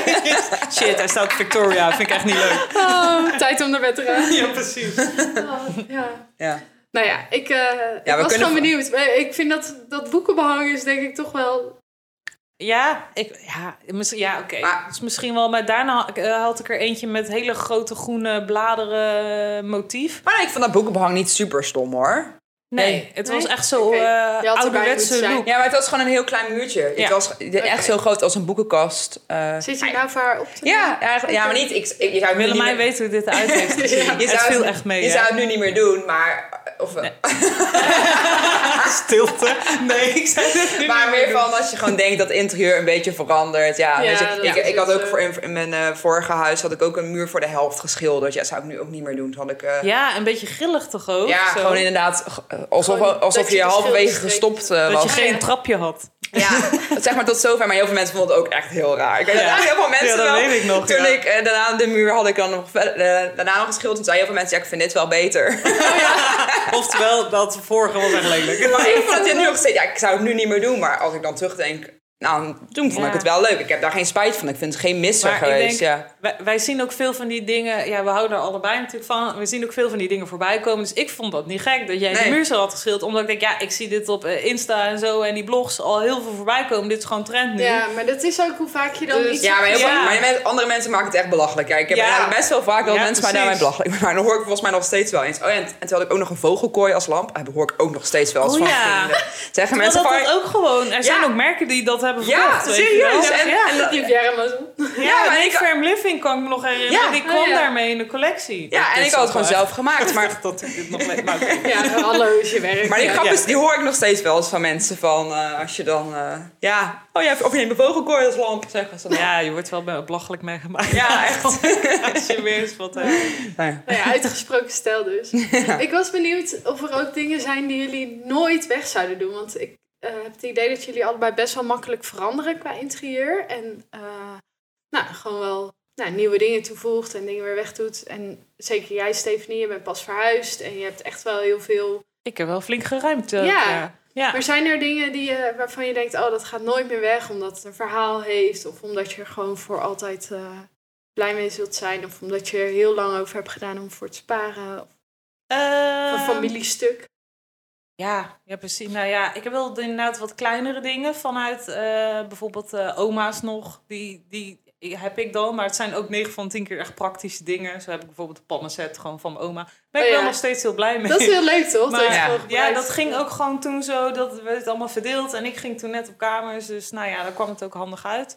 Speaker 4: Shit, hij staat op Victoria. Vind ik echt niet leuk.
Speaker 2: Oh, tijd om naar bed te gaan.
Speaker 4: Ja, precies.
Speaker 2: Oh, ja.
Speaker 3: ja.
Speaker 2: Nou ja, ik, eh, ik
Speaker 3: we
Speaker 2: was
Speaker 3: kunnen-
Speaker 2: gewoon benieuwd. Maar Ik vind dat, dat boekenbehang is denk ik toch wel...
Speaker 4: Ja, ik, ja, misschien- ja oké.
Speaker 3: Maar-
Speaker 4: Dus misschien wel, maar daarna eh, had ik er eentje met hele grote groene bladeren motief.
Speaker 3: Maar ik vond dat boekenbehang niet super stom, hoor.
Speaker 4: Nee,
Speaker 3: Nee.
Speaker 4: het
Speaker 2: Nee?
Speaker 4: was echt zo
Speaker 2: Oké.
Speaker 4: eh,
Speaker 2: Je had erbij moeten
Speaker 4: ouderwetse
Speaker 2: zijn.
Speaker 4: look.
Speaker 3: Ja, maar het was gewoon een heel klein muurtje.
Speaker 4: Ja.
Speaker 3: Het was echt zo groot als een boekenkast. eh.
Speaker 2: Zit je nou voor haar op te
Speaker 3: ja, eigenlijk- ja, maar niet... Ik, ik, je zou het nu niet
Speaker 4: Willemijn
Speaker 3: meer-
Speaker 4: weet hoe dit eruit heeft gezien.
Speaker 3: Je
Speaker 4: het
Speaker 3: zou
Speaker 4: viel echt mee.
Speaker 3: Je
Speaker 4: hè?
Speaker 3: zou het nu niet meer doen, maar... Of,
Speaker 4: stilte. Nee, ik zei het nu
Speaker 3: Maar
Speaker 4: niet
Speaker 3: meer
Speaker 4: meer
Speaker 3: van als je gewoon denkt dat interieur een beetje verandert. Ja,
Speaker 2: Ja,
Speaker 3: weet je,
Speaker 2: dat
Speaker 3: ik,
Speaker 2: is
Speaker 3: ik had
Speaker 2: het,
Speaker 3: ook
Speaker 2: eh.
Speaker 3: voor in, in mijn eh, vorige huis had ik ook een muur voor de helft geschilderd. Ja, dat zou ik nu ook niet meer doen. Toen had ik, eh,
Speaker 4: doen.
Speaker 3: ja,
Speaker 4: Ja, een beetje grillig toch ook? Zo.
Speaker 3: gewoon inderdaad g- eh, alsof,
Speaker 2: Gewoon
Speaker 3: alsof
Speaker 2: dat
Speaker 3: je,
Speaker 2: je de
Speaker 3: halverwege
Speaker 2: schilders
Speaker 3: gestopt eh,
Speaker 4: Dat je
Speaker 3: was.
Speaker 4: geen trapje had.
Speaker 3: Ja, zeg maar tot zover. Maar heel veel mensen vonden het ook echt heel raar. Ik weet dat eigenlijk heel veel mensen
Speaker 4: Ja, dat
Speaker 3: wel.
Speaker 4: weet ik nog,
Speaker 3: Toen
Speaker 4: ja.
Speaker 3: ik eh, daarna de muur had ik dan nog verder- eh, daarna nog geschilderd. Toen zei heel veel mensen, ja, ik vind dit wel beter.
Speaker 4: Oftewel, dat vorige was echt lelijk.
Speaker 3: Maar ik vond het nu nog steeds. Ja, ik zou het nu niet meer doen, maar als ik dan terugdenk. Nou, toen vond
Speaker 4: Ja.
Speaker 3: ik het wel leuk. Ik heb daar geen spijt van. Ik vind het geen misser
Speaker 4: Maar ik
Speaker 3: geweest.
Speaker 4: denk,
Speaker 3: ja.
Speaker 4: wij, wij zien ook veel van die dingen... Ja, we houden er allebei natuurlijk van. We zien ook veel van die dingen voorbij komen. Dus ik vond dat niet gek dat jij de
Speaker 3: Nee.
Speaker 4: muur zo had geschilderd. Omdat ik denk, ja, ik zie dit op eh, Insta en zo... en die blogs al heel veel voorbij komen. Dit is gewoon trend nu.
Speaker 2: Ja, maar dat is ook hoe vaak je dan
Speaker 4: Dus-
Speaker 2: iets...
Speaker 3: Ja, maar, heel
Speaker 4: Ja.
Speaker 3: veel- maar men- andere mensen maken het echt belachelijk. Ja, ik heb
Speaker 4: Ja.
Speaker 3: eigenlijk best wel vaak dat
Speaker 4: Ja,
Speaker 3: mensen mij daarmee
Speaker 4: precies.
Speaker 3: belachelijk Maar dan hoor ik volgens mij nog steeds wel eens. Oh ja, en, en toen had ik ook nog een vogelkooi als lamp. Dat hoor ik ook nog steeds wel eens
Speaker 4: Oh
Speaker 3: van
Speaker 4: ja.
Speaker 3: vrienden. Zeggen
Speaker 4: Maar
Speaker 3: mensen
Speaker 4: dat
Speaker 3: van...
Speaker 4: dat ook gewoon... Er zijn
Speaker 3: Ja.
Speaker 4: ook merken die dat hebben
Speaker 3: Ja,
Speaker 4: verkocht. weet je
Speaker 3: serieus,
Speaker 4: wel.
Speaker 3: en-
Speaker 4: ja,
Speaker 2: En dat liep jaren maar zo.
Speaker 4: ja,
Speaker 3: Ja, maar
Speaker 4: nee,
Speaker 3: ik-
Speaker 4: Farm Living kan ik me nog herinneren.
Speaker 3: Ja.
Speaker 4: die kwam
Speaker 2: Oh, ja.
Speaker 4: daarmee in de collectie.
Speaker 3: Ja, en ik had het gewoon zelf gemaakt. Maar,
Speaker 4: Maar dat ik dit nog mee maak.
Speaker 2: Ja, hallo is je werk.
Speaker 3: maar die
Speaker 4: Ja,
Speaker 3: grap
Speaker 4: ja.
Speaker 3: is, die hoor ik nog steeds wel eens van mensen. Van eh, als je dan, eh, ja, oh ja, of je neemt een vogelkooi als lamp, zeggen ze dan.
Speaker 4: Ja, je wordt wel be- belachelijk mee gemaakt.
Speaker 3: Ja, echt.
Speaker 4: Als je weer eens wat eh, hebt.
Speaker 3: Nou ja.
Speaker 2: Nou ja, uitgesproken stijl dus. Ik was benieuwd of er ook dingen zijn die jullie nooit weg zouden doen. Want ik eh, heb het idee dat jullie allebei best wel makkelijk veranderen qua interieur. En eh, nou, gewoon wel nou, nieuwe dingen toevoegt en dingen weer wegdoet. En zeker jij, Stefanie, je bent pas verhuisd en je hebt echt wel heel veel.
Speaker 4: Ik heb wel flink geruimd. eh,
Speaker 2: Ja.
Speaker 4: ja. ja.
Speaker 2: Maar zijn er dingen die, je- waarvan je denkt, oh, dat gaat nooit meer weg omdat het een verhaal heeft? Of omdat je er gewoon voor altijd eh, blij mee zult zijn? Of omdat je er heel lang over hebt gedaan om voor te sparen? Of een
Speaker 4: Ehm,
Speaker 2: familiestuk?
Speaker 4: Ja, ja, precies. Nou ja, ik heb wel inderdaad wat kleinere dingen vanuit eh, bijvoorbeeld eh, oma's nog. Die, die heb ik dan, maar het zijn ook 9 van 10 keer echt praktische dingen. Zo heb ik bijvoorbeeld een pannenset gewoon van mijn oma. Ben ik
Speaker 2: Oh ja.
Speaker 4: wel nog steeds heel blij mee.
Speaker 2: Dat is heel leuk, toch?
Speaker 4: Maar
Speaker 2: dat je
Speaker 3: ja.
Speaker 2: gewoon gebruikt.
Speaker 4: Ja, dat ging ook gewoon toen zo. Dat werd het allemaal verdeeld. En ik ging toen net op kamers. Dus nou ja, daar kwam het ook handig uit.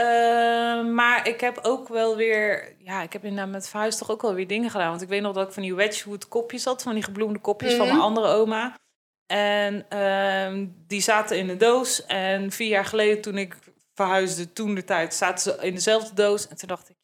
Speaker 4: Ehm, maar ik heb ook wel weer... Ja, ik heb inderdaad met verhuis toch ook wel weer dingen gedaan. Want ik weet nog dat ik van die wedgewood kopjes had. Van die gebloemde kopjes van
Speaker 2: Mhm.
Speaker 4: mijn andere oma. En ehm, die zaten in een doos. En vier jaar geleden toen ik verhuisde, toen de tijd, zaten ze in dezelfde doos. En toen dacht ik,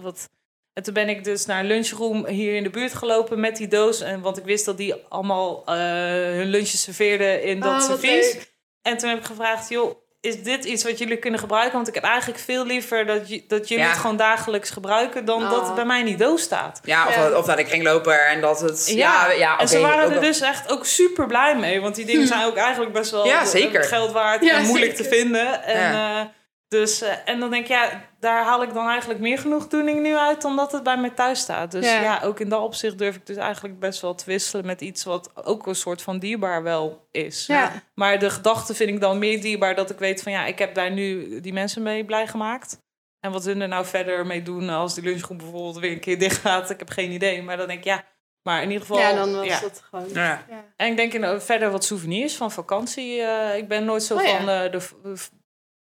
Speaker 4: wat... En toen ben ik dus naar een lunchroom hier in de buurt gelopen met die doos. En, want ik wist dat die allemaal eh, hun lunches serveerden in dat
Speaker 2: Oh, wat
Speaker 4: servies.
Speaker 2: leuk.
Speaker 4: En toen heb ik gevraagd, joh, is dit iets wat jullie kunnen gebruiken? Want ik heb eigenlijk veel liever dat, j- dat jullie
Speaker 3: Ja.
Speaker 4: het gewoon dagelijks gebruiken... dan
Speaker 2: Oh.
Speaker 4: dat het bij mij in die doos staat.
Speaker 3: Ja, of,
Speaker 2: Ja.
Speaker 3: of naar de kringloper en dat het... Ja, ja,
Speaker 4: en ze
Speaker 3: oké,
Speaker 4: waren
Speaker 3: ook
Speaker 4: er
Speaker 3: wel. Hm.
Speaker 4: dus echt ook super blij mee. Want die dingen zijn ook eigenlijk best wel
Speaker 3: Ja,
Speaker 4: eh,
Speaker 3: zeker.
Speaker 4: geld waard
Speaker 2: Ja,
Speaker 4: en moeilijk
Speaker 2: zeker.
Speaker 4: te vinden. En,
Speaker 3: Ja.
Speaker 4: eh, dus, eh, en dan denk ik, ja, daar haal ik dan eigenlijk meer genoegdoening nu uit... dan dat het bij mij thuis staat. Dus
Speaker 2: Ja.
Speaker 4: ja. ook in dat opzicht durf ik dus eigenlijk best wel te wisselen... met iets wat ook een soort van dierbaar wel is.
Speaker 2: Ja.
Speaker 4: Maar de gedachte vind ik dan meer dierbaar dat ik weet van... ja, ik heb daar nu die mensen mee blij gemaakt... En wat hun er nou verder mee doen als die lunchgroep bijvoorbeeld weer een keer dicht gaat, ik heb geen idee. Maar dan denk ik, ja, maar in ieder geval.
Speaker 2: Ja, dan was
Speaker 4: ja.
Speaker 2: dat gewoon. Ja.
Speaker 3: Ja.
Speaker 4: En ik denk in, eh, verder wat souvenirs van vakantie. eh, ik ben nooit zo
Speaker 2: Oh, ja.
Speaker 4: van eh, de v- v-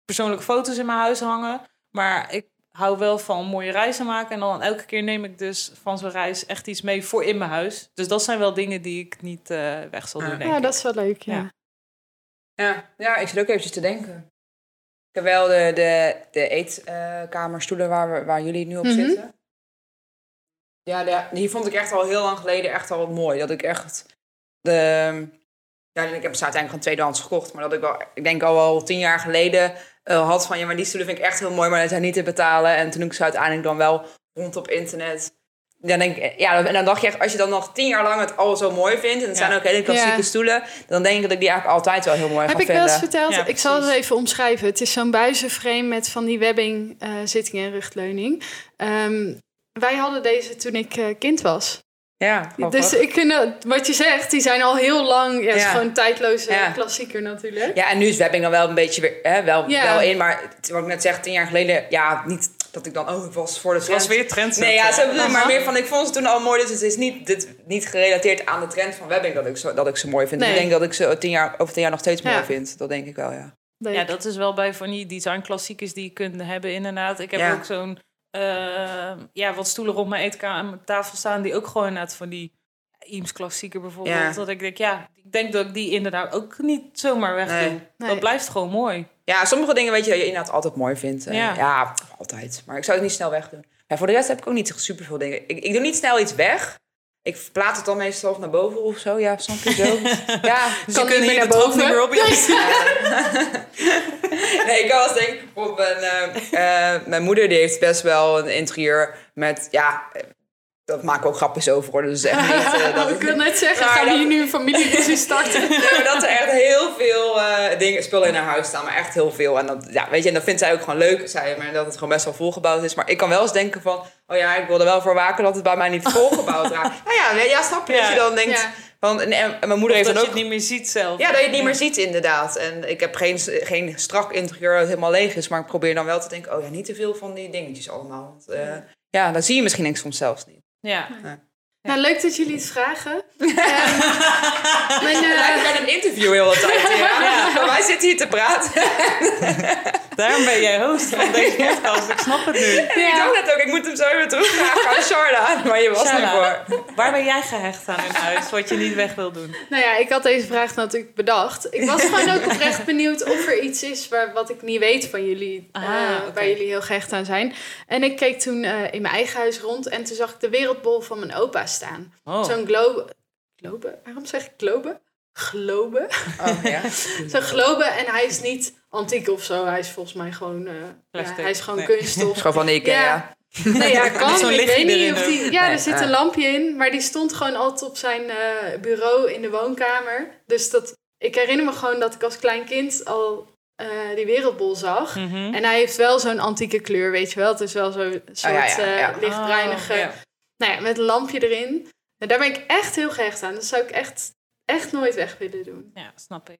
Speaker 4: persoonlijke foto's in mijn huis hangen. Maar ik hou wel van mooie reizen maken. En dan elke keer neem ik dus van zo'n reis echt iets mee voor in mijn huis. Dus dat zijn wel dingen die ik niet eh, weg zal
Speaker 3: Ah.
Speaker 4: doen, denk
Speaker 2: Ja,
Speaker 4: ik.
Speaker 2: dat is wel leuk, ja.
Speaker 4: Ja.
Speaker 3: Ja. ja, ik zit ook eventjes te denken. Ik heb wel de, de, de eetkamerstoelen waar, we- waar jullie nu op
Speaker 2: Mhm.
Speaker 3: zitten. Ja, de- die vond ik echt al heel lang geleden echt al mooi. Dat ik echt... De, ja, en ik heb ze uiteindelijk gewoon tweedehands gekocht. Maar dat ik wel, ik denk al wel tien jaar geleden eh, had van... Ja, maar die stoelen vind ik echt heel mooi, maar die zijn niet te betalen. En toen ik ze uiteindelijk dan wel rond op internet... Dan denk ik, eh, ja, en dan dacht je echt, als je dan nog tien jaar lang het al zo mooi vindt... en het
Speaker 4: Ja.
Speaker 3: zijn ook hele klassieke
Speaker 2: Ja.
Speaker 3: stoelen... dan denk ik dat ik die eigenlijk altijd wel heel mooi
Speaker 2: Heb
Speaker 3: ga
Speaker 2: ik
Speaker 3: vinden.
Speaker 2: wel eens verteld?
Speaker 4: Ja,
Speaker 2: ik zal het
Speaker 4: precies.
Speaker 2: even omschrijven. Het is zo'n buizenframe met van die webbing, eh, zitting en rugleuning. Ehm, wij hadden deze toen ik eh, kind was.
Speaker 3: Ja,
Speaker 2: Dus ik vind dat- wat je zegt, die zijn al heel lang. Ja, het is
Speaker 3: Ja.
Speaker 2: gewoon een tijdloze
Speaker 3: Ja.
Speaker 2: klassieker natuurlijk.
Speaker 3: ja, en nu is webbing dan wel een beetje weer hè, wel,
Speaker 2: Ja.
Speaker 3: wel in. Maar het- wat ik net zeg, tien jaar geleden, ja, niet dat ik dan, oh, ik was voor de
Speaker 4: Het
Speaker 3: trend.
Speaker 4: was weer trend.
Speaker 3: Nee, ja, zo bedoel ik,
Speaker 4: Aha.
Speaker 3: maar meer van, ik vond ze toen al mooi. Dus het is niet, dit, niet gerelateerd aan de trend van webbing dat ik, zo, dat ik ze mooi vind. Dus
Speaker 2: Nee.
Speaker 3: Ik denk dat ik ze tien jaar, over tien jaar nog steeds mooi
Speaker 2: Ja.
Speaker 3: vind. Dat denk ik wel, ja.
Speaker 2: Leuk.
Speaker 4: Ja, dat is wel bij van die designklassiekers die je kunt hebben, inderdaad. Ik heb
Speaker 3: Ja.
Speaker 4: ook zo'n eh, ja, wat stoelen rond mijn eettafel staan, die ook gewoon inderdaad van die Eames klassieker bijvoorbeeld.
Speaker 3: Ja.
Speaker 4: Dat ik denk, ja, ik denk dat ik die inderdaad ook niet zomaar weg
Speaker 3: Nee.
Speaker 4: doe.
Speaker 2: Nee.
Speaker 4: Dat blijft gewoon mooi.
Speaker 3: Ja, sommige dingen weet je dat je inderdaad altijd mooi vindt. En
Speaker 4: Ja.
Speaker 3: Ja, altijd. Maar ik zou het niet snel wegdoen. Ja, voor de rest heb ik ook niet super veel dingen. Ik, ik doe niet snel iets weg. Ik plaat het dan meestal naar boven of zo. Ja, snap je zo? ja,
Speaker 4: Dus
Speaker 2: Kan niet
Speaker 4: je kunt
Speaker 2: meer
Speaker 4: hier
Speaker 2: naar
Speaker 4: de trap
Speaker 2: boven.
Speaker 4: niet meer op. Ja.
Speaker 3: Nee, ik kan wel eens denken, bijvoorbeeld mijn, eh, eh, mijn moeder die heeft best wel een interieur met, ja, eh, dat maken we ook grapjes over hoor, dus echt niet, eh,
Speaker 4: Oh,
Speaker 3: dat,
Speaker 2: Oh, ik wil net zeggen,
Speaker 4: Nou,
Speaker 3: Maar
Speaker 2: gaan we
Speaker 3: dat-
Speaker 2: hier nu een familieruzie starten?
Speaker 3: Nee, maar dat er echt heel veel eh, dingen, spullen in haar huis staan, maar echt heel veel. En dat, ja, weet je, en dat vindt zij ook gewoon leuk, zei maar dat het gewoon best wel volgebouwd is. Maar ik kan wel eens denken van, oh ja, ik wil er wel voor waken dat het bij mij niet volgebouwd raakt. Nou ja, nee, ja, snap je, dat
Speaker 4: Ja.
Speaker 3: je dan denkt,
Speaker 2: Ja.
Speaker 3: van, en, en mijn moeder heeft
Speaker 4: Dat
Speaker 3: dan
Speaker 4: je
Speaker 3: ook
Speaker 4: het niet meer ziet zelf.
Speaker 3: Ja, dat je het niet meer ziet inderdaad. En ik heb geen, geen strak interieur dat helemaal leeg is. Maar ik probeer dan wel te denken, oh ja, niet te veel van die dingetjes allemaal. Want, eh, ja, dan zie je misschien niks soms zelfs niet.
Speaker 4: Ja.
Speaker 3: Ja.
Speaker 2: Nou, leuk dat jullie het vragen. Ehm, mijn, eh,
Speaker 3: Lijkt bij een interview heel wat tijd. Ja. Maar Wij zitten hier te praten.
Speaker 4: Daarom ben jij host van deze podcast. Ik snap het nu.
Speaker 3: Ik dacht net ook, ik moet hem zo weer terugvragen aan Sharda. Maar je was
Speaker 4: Sharda.
Speaker 3: niet voor.
Speaker 4: Waar ben jij gehecht aan in huis, wat je niet weg wil doen?
Speaker 2: Nou ja, ik had deze vraag natuurlijk bedacht. Ik was gewoon ook oprecht benieuwd of er iets is waar, wat ik niet weet van jullie.
Speaker 4: Ah,
Speaker 2: eh,
Speaker 4: oké.
Speaker 2: Waar jullie heel gehecht aan zijn. En ik keek toen eh, in mijn eigen huis rond en toen zag ik de wereldbol van mijn opa staan.
Speaker 4: Oh.
Speaker 2: Zo'n globe. Globe? Waarom zeg ik globe? Globe.
Speaker 3: Oh, ja.
Speaker 2: Zo'n globe en hij is niet antiek of zo. Hij is volgens mij gewoon, eh, ja,
Speaker 4: Plastic.
Speaker 2: hij is gewoon
Speaker 4: Nee.
Speaker 2: kunststof.
Speaker 3: Schoon van Ikea.
Speaker 2: Ja. Nee, ja,
Speaker 4: Met zo'n
Speaker 2: kan. Ik
Speaker 4: lichtje
Speaker 2: weet
Speaker 4: erin
Speaker 2: niet of
Speaker 4: ook.
Speaker 2: die... Ja,
Speaker 3: Nee,
Speaker 2: er zit
Speaker 3: ja.
Speaker 2: een lampje in. Maar die stond gewoon altijd op zijn eh, bureau in de woonkamer. Dus dat... Ik herinner me gewoon dat ik als klein kind al eh, die wereldbol zag.
Speaker 4: Mhm.
Speaker 2: En hij heeft wel zo'n antieke kleur, weet je wel. Het is wel zo'n soort
Speaker 3: ja, ja,
Speaker 2: eh,
Speaker 3: ja.
Speaker 2: lichtbruinige...
Speaker 4: Oh, ja.
Speaker 2: Nou ja, met een lampje erin. En daar ben ik echt heel gehecht aan. Dat zou ik echt, echt nooit weg willen doen.
Speaker 4: Ja, snap ik.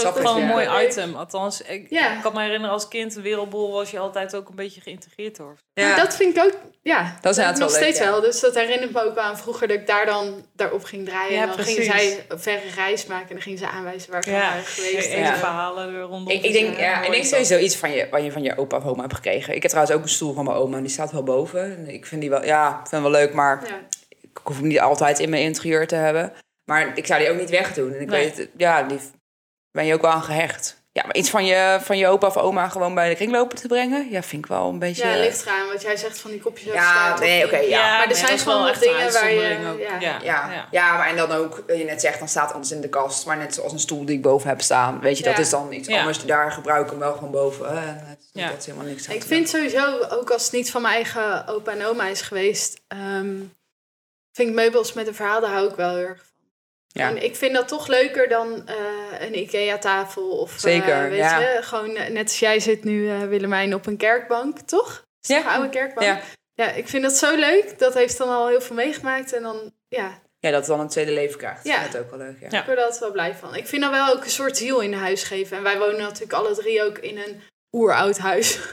Speaker 3: Snap
Speaker 4: Dat is
Speaker 3: ik,
Speaker 4: gewoon een
Speaker 3: ja.
Speaker 4: mooi item. Althans, ik,
Speaker 2: Ja.
Speaker 4: ik kan me herinneren als kind, de wereldbol was je altijd ook een beetje geïntegreerd hoor.
Speaker 3: Ja.
Speaker 2: Maar dat vind ik ook, ja,
Speaker 3: Dat is
Speaker 2: heb
Speaker 3: inderdaad
Speaker 2: ik
Speaker 3: wel
Speaker 2: nog
Speaker 3: leuk,
Speaker 2: steeds
Speaker 3: ja.
Speaker 2: wel. Dus dat herinnert me ook wel aan vroeger dat ik daar dan daarop ging draaien.
Speaker 4: Ja,
Speaker 2: en dan
Speaker 4: precies.
Speaker 2: ging zij een verre reis maken en dan ging ze aanwijzen waar ik
Speaker 4: Ja.
Speaker 2: waren geweest.
Speaker 4: Even
Speaker 2: en zo.
Speaker 4: verhalen er rondom.
Speaker 3: Ik, ik denk,
Speaker 4: te-
Speaker 3: ja, ik
Speaker 4: mooi
Speaker 3: denk
Speaker 4: is
Speaker 3: sowieso iets van je, wat je van je opa of oma hebt gekregen. Ik heb trouwens ook een stoel van mijn oma en die staat wel boven. En ik vind die wel, ja, ik vind hem wel leuk, maar
Speaker 2: Ja.
Speaker 3: ik hoef hem niet altijd in mijn interieur te hebben. Maar ik zou die ook niet wegdoen. En ik
Speaker 4: Nee.
Speaker 3: weet, ja, die ben je ook wel aan gehecht. Ja, maar iets van je, van je opa of oma gewoon bij de kringlopen te brengen, ja, vind ik wel een beetje...
Speaker 2: Ja, ligt eraan wat jij zegt van die kopjes.
Speaker 3: Dus Ja,
Speaker 2: afstaan.
Speaker 3: nee, oké,
Speaker 4: dat.
Speaker 3: ja.
Speaker 2: Maar er
Speaker 4: dat
Speaker 2: zijn
Speaker 4: is
Speaker 2: gewoon
Speaker 4: wel
Speaker 2: wat
Speaker 4: echt een
Speaker 2: dingen waar je-
Speaker 4: uitzondering ook.
Speaker 2: ja.
Speaker 4: Ja.
Speaker 3: Ja, ja. maar en dan ook, eh, je net zegt, dan staat anders in de kast. Maar net zoals een stoel die ik boven heb staan. Weet je, dat
Speaker 2: Ja.
Speaker 3: is dan iets
Speaker 4: Ja.
Speaker 3: anders. Daar gebruik ik hem wel gewoon boven. eh, En het,
Speaker 4: Ja.
Speaker 3: Dat is helemaal niks aan
Speaker 2: Ik
Speaker 3: te
Speaker 2: vind sowieso, ook als het niet van mijn eigen opa en oma is geweest, ehm, vind ik meubels met een verhaal, daar hou ik wel heel erg van.
Speaker 3: Ja.
Speaker 2: En ik vind dat toch leuker dan eh, een IKEA-tafel of eh,
Speaker 3: Zeker,
Speaker 2: weet
Speaker 3: ja.
Speaker 2: je, gewoon eh, net als jij zit nu, eh, Willemijn, op een kerkbank, toch? Is
Speaker 3: Ja.
Speaker 2: toch een oude kerkbank.
Speaker 3: Ja.
Speaker 2: Ja. ik vind dat zo leuk. Dat heeft dan al heel veel meegemaakt en dan, ja,
Speaker 3: Ja, dat het dan een tweede leven krijgt.
Speaker 2: Ja.
Speaker 3: Dat is ook wel leuk, ja.
Speaker 4: Ja.
Speaker 2: ik word er altijd wel blij van. Ik vind dan wel ook een soort ziel in huis geven. En wij wonen natuurlijk alle drie ook in een oeroud huis.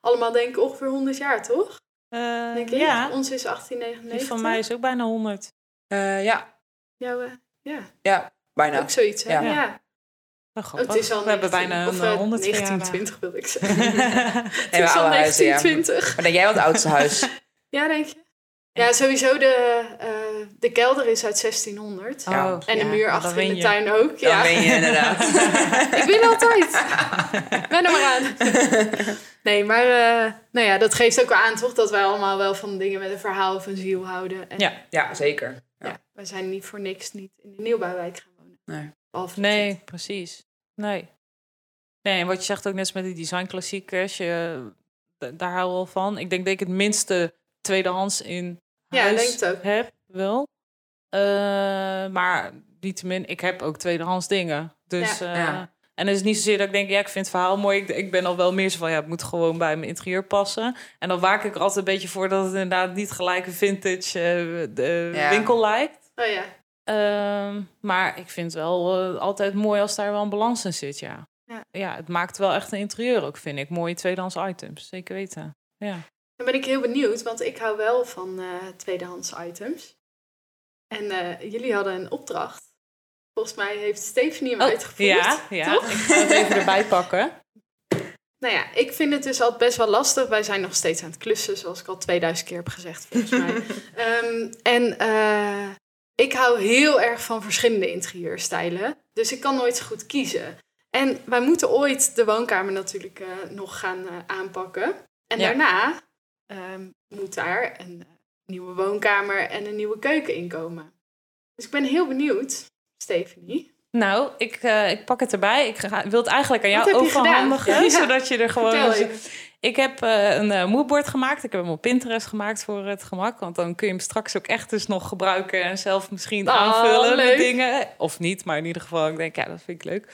Speaker 2: Allemaal denk ik ongeveer 100 jaar, toch?
Speaker 4: Eh,
Speaker 2: Denk ik.
Speaker 4: ja,
Speaker 2: Ons is
Speaker 4: die
Speaker 2: 1899.
Speaker 4: van mij is ook bijna 100.
Speaker 3: Eh, ja,
Speaker 2: Jouw, eh, ja,
Speaker 3: bijna.
Speaker 2: ook zoiets, hè? Ja.
Speaker 3: Ja.
Speaker 4: Wel
Speaker 2: Oh,
Speaker 4: Nou, grappig.
Speaker 2: het is al
Speaker 4: We hebben
Speaker 2: 19
Speaker 4: bijna
Speaker 2: of,
Speaker 4: een
Speaker 2: eh,
Speaker 4: eh, 100 verjaardag.
Speaker 2: 1920 wil ik zeggen.
Speaker 3: En
Speaker 2: Het is al
Speaker 3: ja.
Speaker 2: 1920. Ja.
Speaker 3: Maar denk jij wel het oudste huis?
Speaker 2: denk je? Ja, sowieso de, eh, de kelder is uit 1600.
Speaker 3: Ja.
Speaker 4: Oh,
Speaker 2: En de
Speaker 4: ja,
Speaker 2: muur
Speaker 4: dan
Speaker 2: achter
Speaker 4: win
Speaker 2: in de
Speaker 4: je.
Speaker 2: tuin ook.
Speaker 3: Ja. Dan
Speaker 2: Ja.
Speaker 3: ben je inderdaad.
Speaker 2: Ik win altijd. Ben er maar aan. Nee, maar eh, nou ja, dat geeft ook wel aan, toch? Dat wij allemaal wel van dingen met een verhaal of een ziel houden. En,
Speaker 4: Ja.
Speaker 3: Ja, zeker.
Speaker 2: ja, we zijn niet voor niks niet in de nieuwbouwwijk gaan wonen.
Speaker 3: Nee.
Speaker 2: Behalve
Speaker 4: Nee, precies. Nee. Nee, en wat je zegt ook net als met die designklassiekers, je, eh, d- daar hou ik wel van. Ik denk dat ik het minste tweedehands in
Speaker 2: Ja, ik
Speaker 4: huis
Speaker 2: denk het ook.
Speaker 4: heb, wel. Eh, maar niettemin, ik heb ook tweedehands dingen. Dus, eh,
Speaker 3: Ja.
Speaker 4: En het is niet zozeer dat ik denk, ja, ik vind het verhaal mooi. Ik, ik ben al wel meer zo van, ja, het moet gewoon bij mijn interieur passen. En dan waak ik er altijd een beetje voor dat het inderdaad niet gelijk een vintage eh, de
Speaker 3: Ja.
Speaker 4: winkel lijkt.
Speaker 2: Oh ja.
Speaker 4: Ehm, maar ik vind het wel eh, altijd mooi als daar wel een balans in zit, ja.
Speaker 2: Ja.
Speaker 4: het maakt wel echt een interieur ook, vind ik. Mooie tweedehands items, zeker weten. Ja.
Speaker 2: Dan ben ik heel benieuwd, want ik hou wel van eh, tweedehands items. En eh, jullie hadden een opdracht. Volgens mij heeft Stephanie hem uitgevoerd.
Speaker 4: Oh, ja, ja.
Speaker 2: toch?
Speaker 4: Ik ga het even erbij pakken.
Speaker 2: Nou ja, ik vind het dus altijd best wel lastig. Wij zijn nog steeds aan het klussen, zoals ik al 2000 keer heb gezegd, volgens mij. Ehm, en eh, ik hou heel erg van verschillende interieurstijlen. Dus ik kan nooit zo goed kiezen. En wij moeten ooit de woonkamer natuurlijk eh, nog gaan eh, aanpakken. En
Speaker 4: Ja.
Speaker 2: daarna ehm, moet daar een eh, nieuwe woonkamer en een nieuwe keuken in komen. Dus ik ben heel benieuwd, Stephanie.
Speaker 4: Nou, ik, eh, ik pak het erbij. Ik ga, wil het eigenlijk aan
Speaker 2: Wat
Speaker 4: jou
Speaker 2: heb je gedaan?
Speaker 4: overhandigen,
Speaker 2: Ja.
Speaker 4: zodat je er gewoon... dus-
Speaker 2: Vertel even.
Speaker 4: Ik heb eh, een eh, moodboard gemaakt. Ik heb hem op Pinterest gemaakt voor het gemak. Want dan kun je hem straks ook echt dus nog gebruiken en zelf misschien
Speaker 2: Oh,
Speaker 4: aanvullen met
Speaker 2: leuk.
Speaker 4: dingen. Of niet, maar in ieder geval, ik denk, ja, dat vind ik leuk.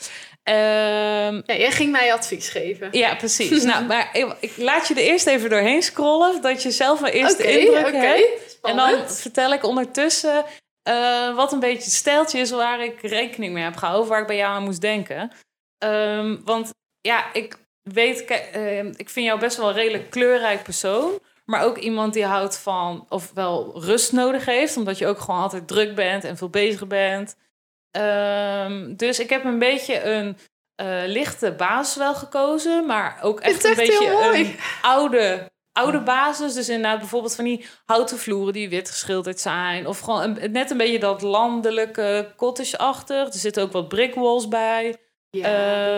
Speaker 4: Ehm,
Speaker 2: Ja, jij ging mij advies geven.
Speaker 4: Ja, precies. nou, maar ik, ik laat je er eerst even doorheen scrollen, dat je zelf een eerste
Speaker 2: Oké,
Speaker 4: indruk
Speaker 2: oké.
Speaker 4: hebt. En
Speaker 2: Spannend.
Speaker 4: dan vertel ik ondertussen eh, wat een beetje het steltje is waar ik rekening mee heb gehouden, waar ik bij jou aan moest denken. Ehm, want ja, ik weet, kijk, ehm, ik vind jou best wel een redelijk kleurrijk persoon. Maar ook iemand die houdt van, ofwel rust nodig heeft, omdat je ook gewoon altijd druk bent en veel bezig bent. Ehm, dus ik heb een beetje een eh, lichte basis wel gekozen, maar ook
Speaker 2: vind
Speaker 4: echt,
Speaker 2: het
Speaker 4: een
Speaker 2: echt heel
Speaker 4: beetje
Speaker 2: mooi.
Speaker 4: een oude, oude basis. Dus inderdaad bijvoorbeeld van die houten vloeren die wit geschilderd zijn. Of gewoon een- net een beetje dat landelijke cottage-achtig. Er zitten ook wat brick walls bij.
Speaker 2: Ja,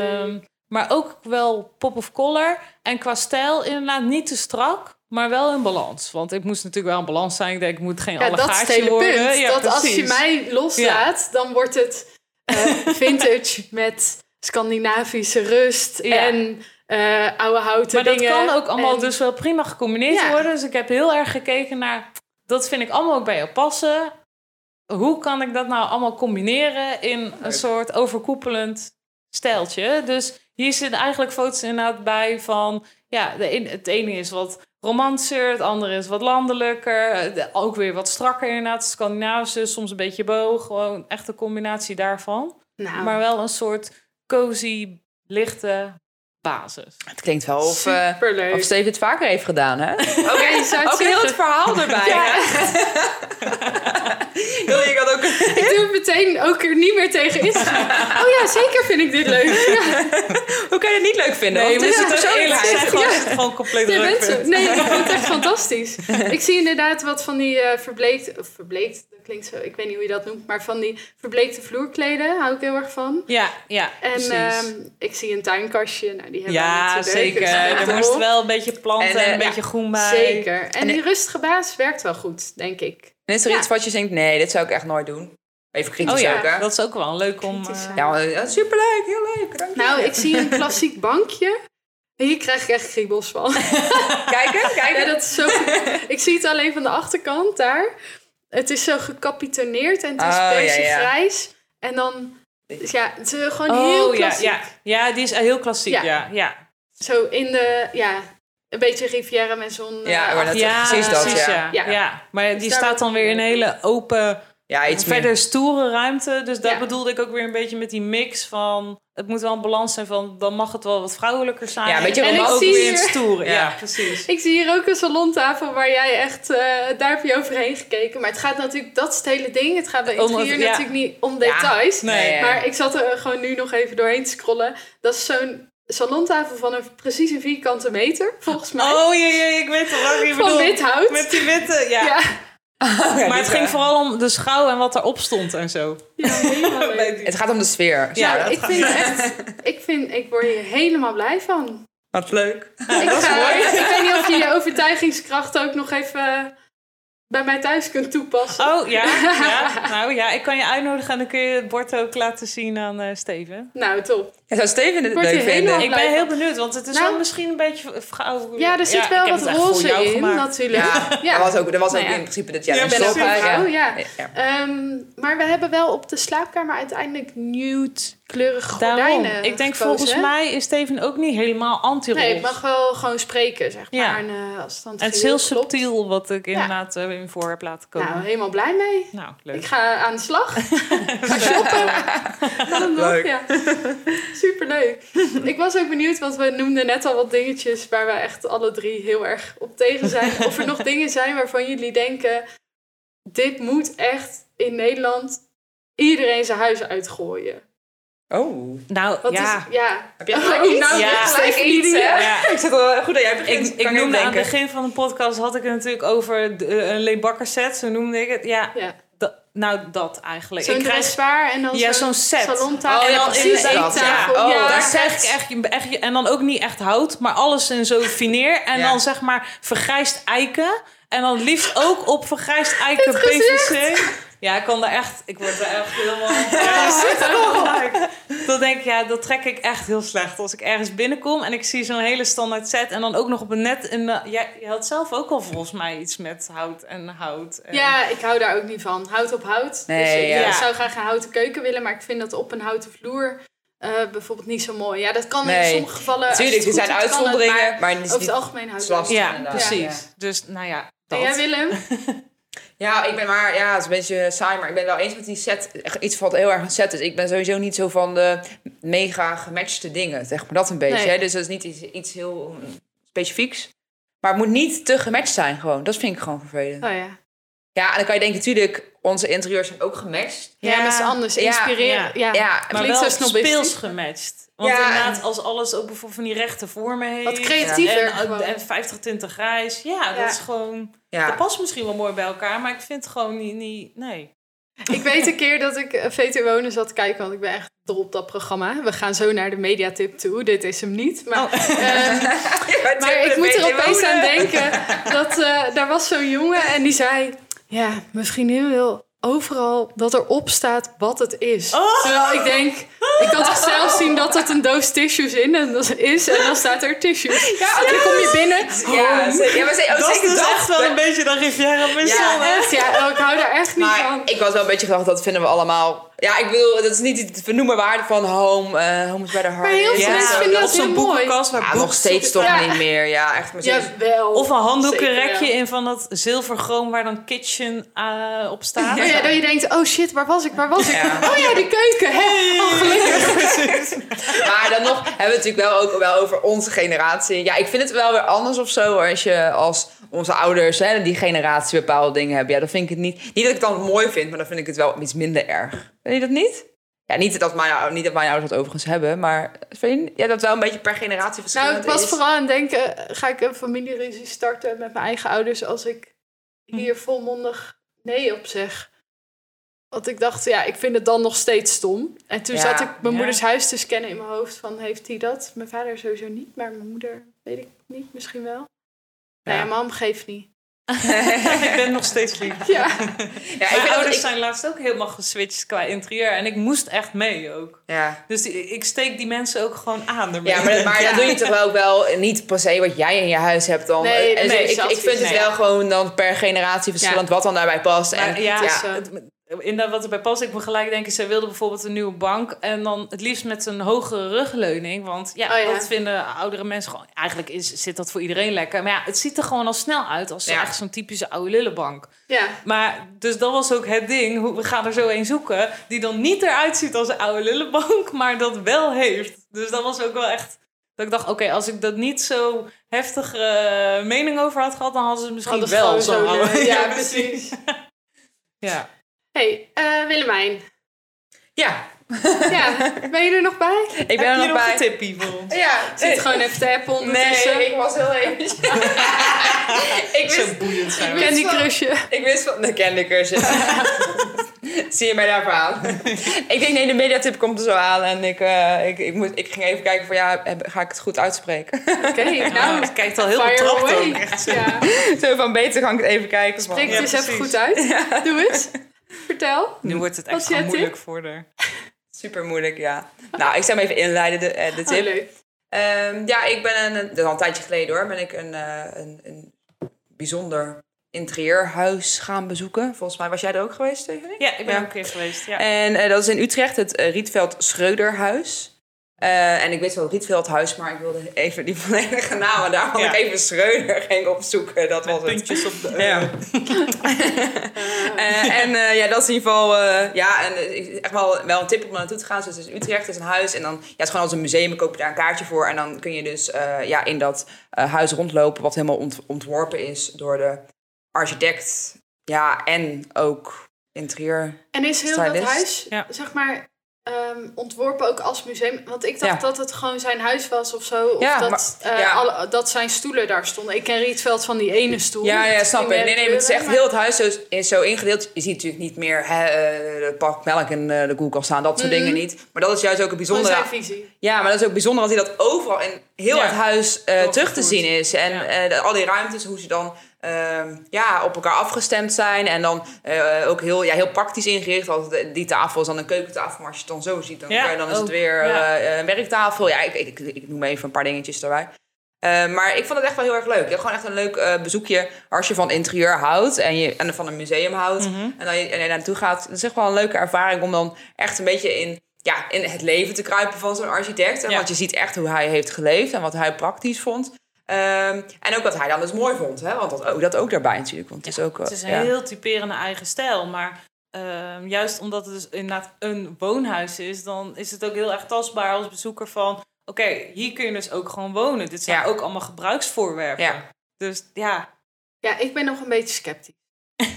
Speaker 4: Ehm, maar ook wel pop of color. En qua stijl inderdaad niet te strak, maar wel in balans. Want ik moest natuurlijk wel in balans zijn. Ik denk, ik moet geen
Speaker 2: ja dat is het
Speaker 4: allegaartje
Speaker 2: hele
Speaker 4: worden.
Speaker 2: punt.
Speaker 4: Ja,
Speaker 2: dat als je
Speaker 4: precies.
Speaker 2: mij loslaat, dan wordt het eh, vintage met Scandinavische rust
Speaker 4: Ja.
Speaker 2: en eh, oude houten
Speaker 4: Maar dat
Speaker 2: dingen.
Speaker 4: kan ook allemaal
Speaker 2: En-
Speaker 4: dus wel prima gecombineerd
Speaker 2: Ja.
Speaker 4: worden. Dus ik heb heel erg gekeken naar... Dat vind ik allemaal ook bij jou passen. Hoe kan ik dat nou allemaal combineren in een soort overkoepelend stijltje? Dus hier zitten eigenlijk foto's inderdaad bij van... Ja, de een- het ene is wat romantischer, het andere is wat landelijker. eh, de- ook weer wat strakker inderdaad. Scandinavische, soms een beetje boog. Gewoon echt een combinatie daarvan.
Speaker 2: Nou,
Speaker 4: Maar wel een soort cozy, lichte basis.
Speaker 3: Het klinkt wel of, eh,
Speaker 2: superleuk.
Speaker 3: of Steve het vaker heeft gedaan, hè?
Speaker 2: Oké, je zou het
Speaker 3: Ook heel
Speaker 2: zeggen.
Speaker 3: het verhaal erbij.
Speaker 2: Ja.
Speaker 3: hè? Wil je dat ook...
Speaker 2: Ik doe het meteen ook er niet meer tegen inschrijven. Oh ja, zeker vind ik dit leuk. Ja,
Speaker 3: Hoe kan je het niet leuk vinden?
Speaker 4: Nee, je
Speaker 3: Want
Speaker 4: moet
Speaker 3: het is
Speaker 4: het
Speaker 3: een
Speaker 4: ook eerlijk
Speaker 3: persoonlijkheid.
Speaker 4: zeggen als je het gewoon compleet
Speaker 2: je
Speaker 4: druk
Speaker 2: bent zo.
Speaker 4: vindt.
Speaker 2: Nee, ik vind het echt fantastisch. Ik zie inderdaad wat van die eh, verbleekt... Of verbleekt, dat klinkt zo... Ik weet niet hoe je dat noemt. Maar van die verbleekte vloerkleden hou ik heel erg van.
Speaker 4: Ja, ja,
Speaker 2: En
Speaker 4: precies.
Speaker 2: ehm, ik zie een tuinkastje. Nou, die hebben we
Speaker 4: ja,
Speaker 2: natuurlijk.
Speaker 4: zeker.
Speaker 2: Dus dat is
Speaker 4: Er moest
Speaker 2: top.
Speaker 4: wel een beetje planten en,
Speaker 3: En, eh,
Speaker 4: een
Speaker 3: ja,
Speaker 4: beetje groen bij.
Speaker 2: Zeker. En,
Speaker 3: En
Speaker 2: die rustige baas werkt wel goed, denk ik.
Speaker 3: En is er
Speaker 2: Ja.
Speaker 3: iets wat je denkt, nee, dit zou ik echt nooit doen? Even kritisch
Speaker 4: Oh
Speaker 3: ook,
Speaker 4: ja,
Speaker 3: hè?
Speaker 4: dat is ook wel leuk om...
Speaker 2: Kritisch
Speaker 4: eh,
Speaker 2: zijn.
Speaker 3: Ja, maar, eh, superleuk, heel leuk. Dank je.
Speaker 2: Nou, ik zie een klassiek bankje. Hier krijg ik echt kriebels van.
Speaker 3: Kijken, kijken.
Speaker 2: Ja, dat is zo. ik zie het alleen van de achterkant daar. Het is zo gekapitoneerd en het is
Speaker 3: Oh,
Speaker 2: een
Speaker 3: ja,
Speaker 2: beetje
Speaker 3: ja.
Speaker 2: grijs. En dan, ja, het is gewoon heel
Speaker 4: Oh ja,
Speaker 2: klassiek.
Speaker 4: ja, ja, die is heel klassiek,
Speaker 2: Ja.
Speaker 4: ja. ja, ja.
Speaker 2: Zo in de, ja, een beetje Riviera met zon. eh,
Speaker 3: Ja, maar dat-
Speaker 2: achter-
Speaker 3: precies dat, ja.
Speaker 4: ja.
Speaker 2: Ja. Dus
Speaker 4: Ja, Maar die
Speaker 2: daar
Speaker 4: staat dan weer in een hele open,
Speaker 3: Ja, iets
Speaker 4: verder
Speaker 3: meer.
Speaker 4: stoere ruimte. Dus dat
Speaker 2: Ja.
Speaker 4: bedoelde ik ook weer een beetje met die mix van... Het moet wel een balans zijn van, dan mag het wel wat vrouwelijker zijn.
Speaker 3: Ja, een beetje
Speaker 4: en ook
Speaker 2: romantisch.
Speaker 4: weer in het stoere.
Speaker 3: Ja.
Speaker 4: Ja, precies.
Speaker 2: Ik zie hier ook een salontafel waar jij echt, eh, daar heb je overheen gekeken. Maar het gaat natuurlijk, dat is het hele ding. Het gaat bij
Speaker 4: Om het-
Speaker 2: interieur
Speaker 4: ja.
Speaker 2: natuurlijk niet om details.
Speaker 4: Nee.
Speaker 3: Nee, ja.
Speaker 2: Maar ik zat er gewoon nu nog even doorheen te scrollen. Dat is zo'n salontafel van een precies een vierkante meter, volgens mij.
Speaker 4: Oh jee, jee, ik weet het wat je
Speaker 2: van
Speaker 4: bedoelt.
Speaker 2: wit hout.
Speaker 4: Met die witte, ja.
Speaker 2: ja.
Speaker 3: Ja,
Speaker 4: Maar
Speaker 3: dit,
Speaker 4: het ging
Speaker 3: eh,
Speaker 4: vooral om de schouw en wat daarop stond en zo.
Speaker 2: Ja, helemaal leuk.
Speaker 3: Het gaat om de sfeer.
Speaker 4: Ja,
Speaker 2: Nou,
Speaker 3: dat-
Speaker 2: ik vind het echt, ik, vind, ik word hier helemaal blij van.
Speaker 3: Wat leuk.
Speaker 2: ik, ga, ik weet niet of je je overtuigingskracht ook nog even bij mij thuis kunt toepassen.
Speaker 4: Oh ja, ja. Nou ja, ik kan je uitnodigen en dan kun je het bord ook laten zien aan eh, Steven.
Speaker 2: Nou, top.
Speaker 3: Ja, zou Steven het
Speaker 2: Wordt
Speaker 3: leuk
Speaker 2: je helemaal-
Speaker 3: vinden?
Speaker 4: Ik ben heel benieuwd, want het is
Speaker 2: Nou.
Speaker 4: wel misschien een beetje gauw.
Speaker 2: Ja, er zit wel wat roze in, natuurlijk.
Speaker 3: Ja,
Speaker 2: Ja.
Speaker 3: dat was ook, dat was
Speaker 2: Nou
Speaker 3: ook
Speaker 2: ja.
Speaker 3: in principe dat jij
Speaker 4: Ja,
Speaker 3: ja,
Speaker 4: ik ben
Speaker 3: stop.
Speaker 4: ook een
Speaker 2: vrouw,
Speaker 3: ja.
Speaker 2: ja. Ehm, maar we hebben wel op de slaapkamer uiteindelijk nude kleurige
Speaker 4: Daarom.
Speaker 2: gordijnen
Speaker 4: Ik denk
Speaker 2: gekozen,
Speaker 4: volgens
Speaker 2: hè?
Speaker 4: mij is Steven ook niet helemaal anti
Speaker 2: Nee, ik mag wel gewoon spreken, zeg maar.
Speaker 4: Ja.
Speaker 2: En, eh, als het dan
Speaker 4: En het is
Speaker 2: geheel
Speaker 4: heel
Speaker 2: klopt.
Speaker 4: subtiel wat ik inderdaad eh, in voor heb laten komen.
Speaker 2: Nou,
Speaker 4: Nou,
Speaker 2: helemaal blij mee. Ik
Speaker 4: leuk.
Speaker 2: ga aan de slag. ga shoppen. Kan hem nog,
Speaker 3: Leuk.
Speaker 2: ja. Superleuk. Ik was ook benieuwd, want we noemden net al wat dingetjes waar we echt alle drie heel erg op tegen zijn. Of er nog dingen zijn waarvan jullie denken, dit moet echt in Nederland iedereen zijn huis uitgooien.
Speaker 3: Oh.
Speaker 4: Nou,
Speaker 2: Wat
Speaker 4: ja.
Speaker 2: is, ja.
Speaker 3: Heb jij gelijk
Speaker 2: Oh,
Speaker 3: iets?
Speaker 2: nou,
Speaker 4: Ja.
Speaker 2: gelijk
Speaker 3: Steven
Speaker 2: iets,
Speaker 3: hè?
Speaker 2: hè?
Speaker 4: ja.
Speaker 3: Ik zit wel goed dat jij begint.
Speaker 4: Ik, ik
Speaker 3: Kan
Speaker 4: noemde aan het
Speaker 3: denken.
Speaker 4: begin van de podcast, had ik het natuurlijk over de, eh, een Lee Bakker set, zo noemde ik het. Ja,
Speaker 2: Ja.
Speaker 4: dat- nou dat eigenlijk.
Speaker 2: Zo'n
Speaker 4: ik krijg
Speaker 2: dressoir en dan
Speaker 4: ja,
Speaker 2: zo'n
Speaker 4: zo'n set.
Speaker 2: salontafel.
Speaker 3: Oh, ja,
Speaker 2: en dan
Speaker 3: precies
Speaker 2: een
Speaker 3: dat, ja.
Speaker 2: eettafel.
Speaker 3: Oh,
Speaker 2: Ja.
Speaker 4: daar
Speaker 3: Daar
Speaker 4: krijg ik
Speaker 3: zet.
Speaker 4: echt, echt, en dan ook niet echt hout, maar alles in zo'n fineer. En
Speaker 3: Ja.
Speaker 4: dan zeg maar vergrijsd eiken. En dan liefst ook op vergrijsd eiken
Speaker 2: Het gezicht.
Speaker 4: PVC. Ja, ik kan daar echt, ik word daar echt helemaal. Ja, dat zit er wel gelijk. Dan denk ik, ja, dat trek ik echt heel slecht. Als ik ergens binnenkom en ik zie zo'n hele standaard set. En dan ook nog op een net. En, jij, je had zelf ook al volgens mij iets met hout en hout. En,
Speaker 2: Ja, ik hou daar ook niet van. Hout op hout. dus
Speaker 3: Nee,
Speaker 2: ik
Speaker 3: ja.
Speaker 2: eh, zou graag een houten keuken willen, maar ik vind dat op een houten vloer eh, bijvoorbeeld niet zo mooi. Ja, dat kan in
Speaker 3: Nee.
Speaker 2: sommige gevallen. als je
Speaker 3: Tuurlijk, er
Speaker 2: het goed
Speaker 3: zijn
Speaker 2: doet, kan het,
Speaker 3: uitzonderingen.
Speaker 2: maar
Speaker 3: Maar het is
Speaker 2: over het
Speaker 3: niet-
Speaker 2: algemeen hout.
Speaker 3: het is lastig.
Speaker 4: ja
Speaker 3: inderdaad.
Speaker 4: precies.
Speaker 3: Ja.
Speaker 4: Dus nou ja, dat.
Speaker 2: En jij Willem? Oh
Speaker 3: Ja, ik ben maar, ja, het is een beetje saai, maar ik ben wel eens met die set. Iets valt heel erg aan set. Dus ik ben sowieso niet zo van de mega gematchte dingen. Zeg maar dat een beetje.
Speaker 2: Nee.
Speaker 3: Hè? Dus dat is niet iets, iets heel specifieks. Maar het moet niet te gematcht zijn gewoon. Dat vind ik gewoon vervelend.
Speaker 2: Oh ja.
Speaker 3: Ja, en dan kan je denken, natuurlijk, onze interieurs zijn ook gematcht.
Speaker 2: Ja, maar het is anders.
Speaker 3: Ja,
Speaker 2: Inspireren. Ja,
Speaker 3: Ja,
Speaker 4: Maar
Speaker 2: Klinkt
Speaker 4: wel
Speaker 2: zo snobistisch.
Speaker 4: speels gematcht. Want
Speaker 3: Ja,
Speaker 4: inderdaad, als alles ook bijvoorbeeld van die rechte vormen heeft.
Speaker 2: Wat creatiever gewoon.
Speaker 4: En, en 50 tinten grijs. Ja,
Speaker 2: Ja.
Speaker 4: dat is gewoon... Dat
Speaker 3: ja.
Speaker 4: past misschien wel mooi bij elkaar, maar ik vind het gewoon niet... niet nee.
Speaker 2: Ik weet een keer dat ik eh, VT Wonen zat te kijken, want ik ben echt dol op dat programma. We gaan zo naar de mediatip toe. Dit is hem niet. Maar,
Speaker 3: Oh.
Speaker 2: ehm, maar ik moet er opeens aan denken dat eh, daar was zo'n jongen en die zei: Ja, mijn vriendin wil overal dat erop staat wat het is.
Speaker 4: Oh.
Speaker 2: Terwijl ik denk, ik kan toch zelf zien dat het een doos tissues in en dat is en dan staat er tissues.
Speaker 3: Ja,
Speaker 2: En dan kom je binnen.
Speaker 3: Ja, ze- ja, maar ze- oh,
Speaker 4: dat is
Speaker 3: zeker
Speaker 4: dus
Speaker 3: dat.
Speaker 4: echt wel een beetje dan Riviera Missel.
Speaker 3: Ja.
Speaker 2: Echt, ja, oh, ik hou daar echt niet
Speaker 3: Maar
Speaker 2: van.
Speaker 3: ik was wel een beetje gedacht, dat vinden we allemaal... Ja, ik bedoel, dat is niet het vernoemenwaarde van home, eh home is bij de heart.
Speaker 2: Maar heel veel
Speaker 3: Ja.
Speaker 2: mensen vinden
Speaker 4: Of
Speaker 2: dat heel
Speaker 4: zo'n
Speaker 2: mooi.
Speaker 4: boekenkast waar
Speaker 3: Ja,
Speaker 4: boeken
Speaker 3: nog steeds toch
Speaker 2: Ja.
Speaker 3: niet meer. Ja, echt maar steeds.
Speaker 2: Jawel.
Speaker 4: Of een handdoekenrekje
Speaker 2: Zeker, ja.
Speaker 4: in van dat zilvergroom waar dan kitchen eh, op staat.
Speaker 2: Oh ja, dat je denkt, oh shit, waar was ik, waar was ik?
Speaker 3: Ja.
Speaker 2: Oh ja, de keuken, hè? Oh, gelukkig.
Speaker 3: Maar dan nog hebben we het natuurlijk wel ook wel over onze generatie. Ja, ik vind het wel weer anders of zo. hoor. Als je als onze ouders, hè, die generatie bepaalde dingen hebben. Ja, dan vind ik het niet... Niet dat ik het dan mooi vind, maar dan vind ik het wel iets minder erg. Vind je dat niet? Ja, niet dat mijn, niet dat mijn ouders dat overigens hebben. Maar vind je ja, dat wel een beetje per generatie verschillend
Speaker 2: Nou, ik was
Speaker 3: is?
Speaker 2: vooral aan het denken, eh, ga ik een familieruzie starten met mijn eigen ouders als ik
Speaker 3: Hm.
Speaker 2: hier volmondig nee op zeg? Want ik dacht, ja, ik vind het dan nog steeds stom. En toen
Speaker 3: Ja,
Speaker 2: zat ik mijn
Speaker 4: ja.
Speaker 2: moeders huis te scannen in mijn hoofd van, heeft hij dat? Mijn vader sowieso niet, maar mijn moeder weet ik niet, misschien wel. Nou ja,
Speaker 3: Ja.
Speaker 2: mam geeft niet.
Speaker 4: ik ben nog steeds lief.
Speaker 2: Ja,
Speaker 3: Ja, ik
Speaker 4: Mijn
Speaker 3: vind
Speaker 4: ouders
Speaker 3: dat ik-
Speaker 4: zijn laatst ook helemaal geswitcht qua interieur. En ik moest echt mee ook.
Speaker 3: Ja.
Speaker 4: Dus die- ik steek die mensen ook gewoon aan. ermee.
Speaker 3: Ja, maar, dat- maar
Speaker 4: Ja.
Speaker 3: dan doe je toch ook wel niet per se wat jij in je huis hebt dan.
Speaker 2: Nee,
Speaker 3: En
Speaker 2: nee,
Speaker 3: zo,
Speaker 2: nee,
Speaker 3: ik, ik vind het
Speaker 4: nee.
Speaker 3: wel gewoon dan per generatie verschillend wat dan daarbij past.
Speaker 4: Maar
Speaker 3: en,
Speaker 4: ja,
Speaker 2: het is,
Speaker 3: ja.
Speaker 2: eh,
Speaker 4: het- inderdaad wat erbij past. Ik moet gelijk denken, zij wilde bijvoorbeeld een nieuwe bank. En dan het liefst met een hogere rugleuning. Want ja,
Speaker 2: Oh ja.
Speaker 4: dat vinden oudere mensen gewoon... Eigenlijk is, zit dat voor iedereen lekker. Maar ja, het ziet er gewoon al snel uit als zo-
Speaker 3: Ja.
Speaker 4: echt zo'n typische oude lullenbank.
Speaker 2: ja.
Speaker 4: Maar dus dat was ook het ding. Hoe- We gaan er zo een zoeken die dan niet eruit ziet als een oude lullenbank, maar dat wel heeft. Dus dat was ook wel echt. Dat ik dacht, oké, als ik dat niet zo heftig eh, mening over had gehad, dan hadden ze het misschien
Speaker 2: Anders
Speaker 4: wel
Speaker 2: gewoon
Speaker 4: zo
Speaker 2: zo'n,
Speaker 4: houden.
Speaker 2: eh, Ja, precies.
Speaker 4: Ja.
Speaker 2: hey, eh, Willemijn.
Speaker 3: ja,
Speaker 2: Ja, ben je er nog bij?
Speaker 3: ik ben er
Speaker 4: Heb je
Speaker 3: nog
Speaker 4: nog
Speaker 3: bij.
Speaker 4: een tipje voor ons?
Speaker 3: Ja,
Speaker 2: Ik zit gewoon even te appen ondertussen.
Speaker 3: Nee, ik was heel even. ik, wist,
Speaker 4: Zo boeiend zijn we.
Speaker 2: Candy Crushje.
Speaker 3: ik wist van de kennekursus. Zie je mij daarvoor aan? ik denk, nee, de mediatip komt er zo aan. En ik, eh, ik, ik, moet, ik ging even kijken van, ja, heb- ga ik het goed uitspreken?
Speaker 2: Oké, nou.
Speaker 4: het kijkt al heel
Speaker 2: fire
Speaker 4: betrapt
Speaker 2: away.
Speaker 4: ook. Echt zo.
Speaker 2: Ja,
Speaker 3: zo van, beter ga ik het even kijken. man.
Speaker 2: spreek het
Speaker 4: Ja,
Speaker 2: eens even goed
Speaker 4: precies.
Speaker 2: uit. Doe eens. Vertel.
Speaker 4: Nu wordt het
Speaker 2: Wat is
Speaker 4: echt
Speaker 2: jouw tip?
Speaker 4: moeilijk voor haar.
Speaker 3: Super moeilijk, ja. Nou, ik zal hem even inleiden, de, eh, de
Speaker 2: Oh,
Speaker 3: tip.
Speaker 2: leuk.
Speaker 3: Ehm, ja, ik ben een, dat is al een tijdje geleden hoor, ben ik een, eh, een, een bijzonder interieurhuis gaan bezoeken. Volgens mij was jij er ook geweest, Stephanie?
Speaker 4: Ja, ik ben
Speaker 3: Ja.
Speaker 4: ook een keer geweest. Ja.
Speaker 3: En eh, dat is in Utrecht, het eh, Rietveld Schreuderhuis. Eh, en ik wist wel het Rietveldhuis, maar ik wilde even die volledige naam. En daarom
Speaker 4: Ja.
Speaker 3: ik even Schreuder ging opzoeken. Dat was het.
Speaker 4: Puntjes op de...
Speaker 3: Ja. Eh, en eh, ja, dat is in ieder geval eh, ja, en, eh, echt wel, wel een tip om er naartoe te gaan. Dus het is Utrecht, het is een huis. En dan ja, het is gewoon als een museum, dan koop je daar een kaartje voor. En dan kun je dus eh, ja, in dat eh, huis rondlopen, wat helemaal ont- ontworpen is door de architect. Ja, en ook interieur.
Speaker 2: En is heel dat
Speaker 3: Stylist.
Speaker 2: huis,
Speaker 4: Ja.
Speaker 2: zeg maar, ehm, ontworpen ook als museum? Want ik dacht
Speaker 3: Ja.
Speaker 2: dat het gewoon zijn huis was of zo. Of
Speaker 3: Ja,
Speaker 2: dat,
Speaker 3: maar-
Speaker 2: eh,
Speaker 3: ja.
Speaker 2: alle- dat zijn stoelen daar stonden. Ik ken Rietveld van die ene stoel.
Speaker 3: Ja, ja, snap ik.
Speaker 2: Die
Speaker 3: Nee,
Speaker 2: met
Speaker 3: nee, maar het is echt
Speaker 2: kleuren,
Speaker 3: heel het huis zo, is zo ingedeeld. Je ziet natuurlijk niet meer hè, eh, de pak melk en eh, de koelkast staan, dat soort dingen niet. Maar dat is juist ook een
Speaker 2: maar
Speaker 3: bijzondere.
Speaker 2: Van zijn visie.
Speaker 3: Ja, maar dat is ook bijzonder als hij dat overal in heel
Speaker 4: Ja.
Speaker 3: het huis eh, terug te
Speaker 4: Doorgevoerd.
Speaker 3: zien is. En
Speaker 4: Ja.
Speaker 3: eh, de- al die ruimtes, hoe ze dan ehm, ja, op elkaar afgestemd zijn. En dan eh, ook heel, ja, heel praktisch ingericht. Want de- die tafel is dan een keukentafel, maar als je het dan zo ziet, dan,
Speaker 4: Ja,
Speaker 3: kan je- dan is het
Speaker 4: ook.
Speaker 3: weer
Speaker 4: Ja.
Speaker 3: eh, een werktafel. Ja, ik, ik, ik, ik noem even een paar dingetjes daarbij. Eh, maar ik vond het echt wel heel erg leuk. Ik heb gewoon echt een leuk eh, bezoekje als je van interieur houdt en, je, en van een museum houdt.
Speaker 4: Mhm.
Speaker 3: En dan je, en je naartoe gaat. Dat is echt wel een leuke ervaring om dan echt een beetje in, ja, in het leven te kruipen van zo'n architect. En
Speaker 4: Ja.
Speaker 3: Want je ziet echt hoe hij heeft geleefd en wat hij praktisch vond. Ehm, en ook wat hij dan dus mooi vond. Hè? Want dat, ook dat ook daarbij natuurlijk. Want het is ook... eh,
Speaker 4: Het is een
Speaker 3: ja.
Speaker 4: heel typerende eigen stijl, maar ehm, juist omdat het dus inderdaad een woonhuis is, dan is het ook heel erg tastbaar als bezoeker van, oké, hier kun je dus ook gewoon wonen. Dit zijn
Speaker 3: Ja.
Speaker 4: ook allemaal gebruiksvoorwerpen.
Speaker 3: Ja.
Speaker 4: Dus ja,
Speaker 2: Ja, ik ben nog een beetje sceptisch.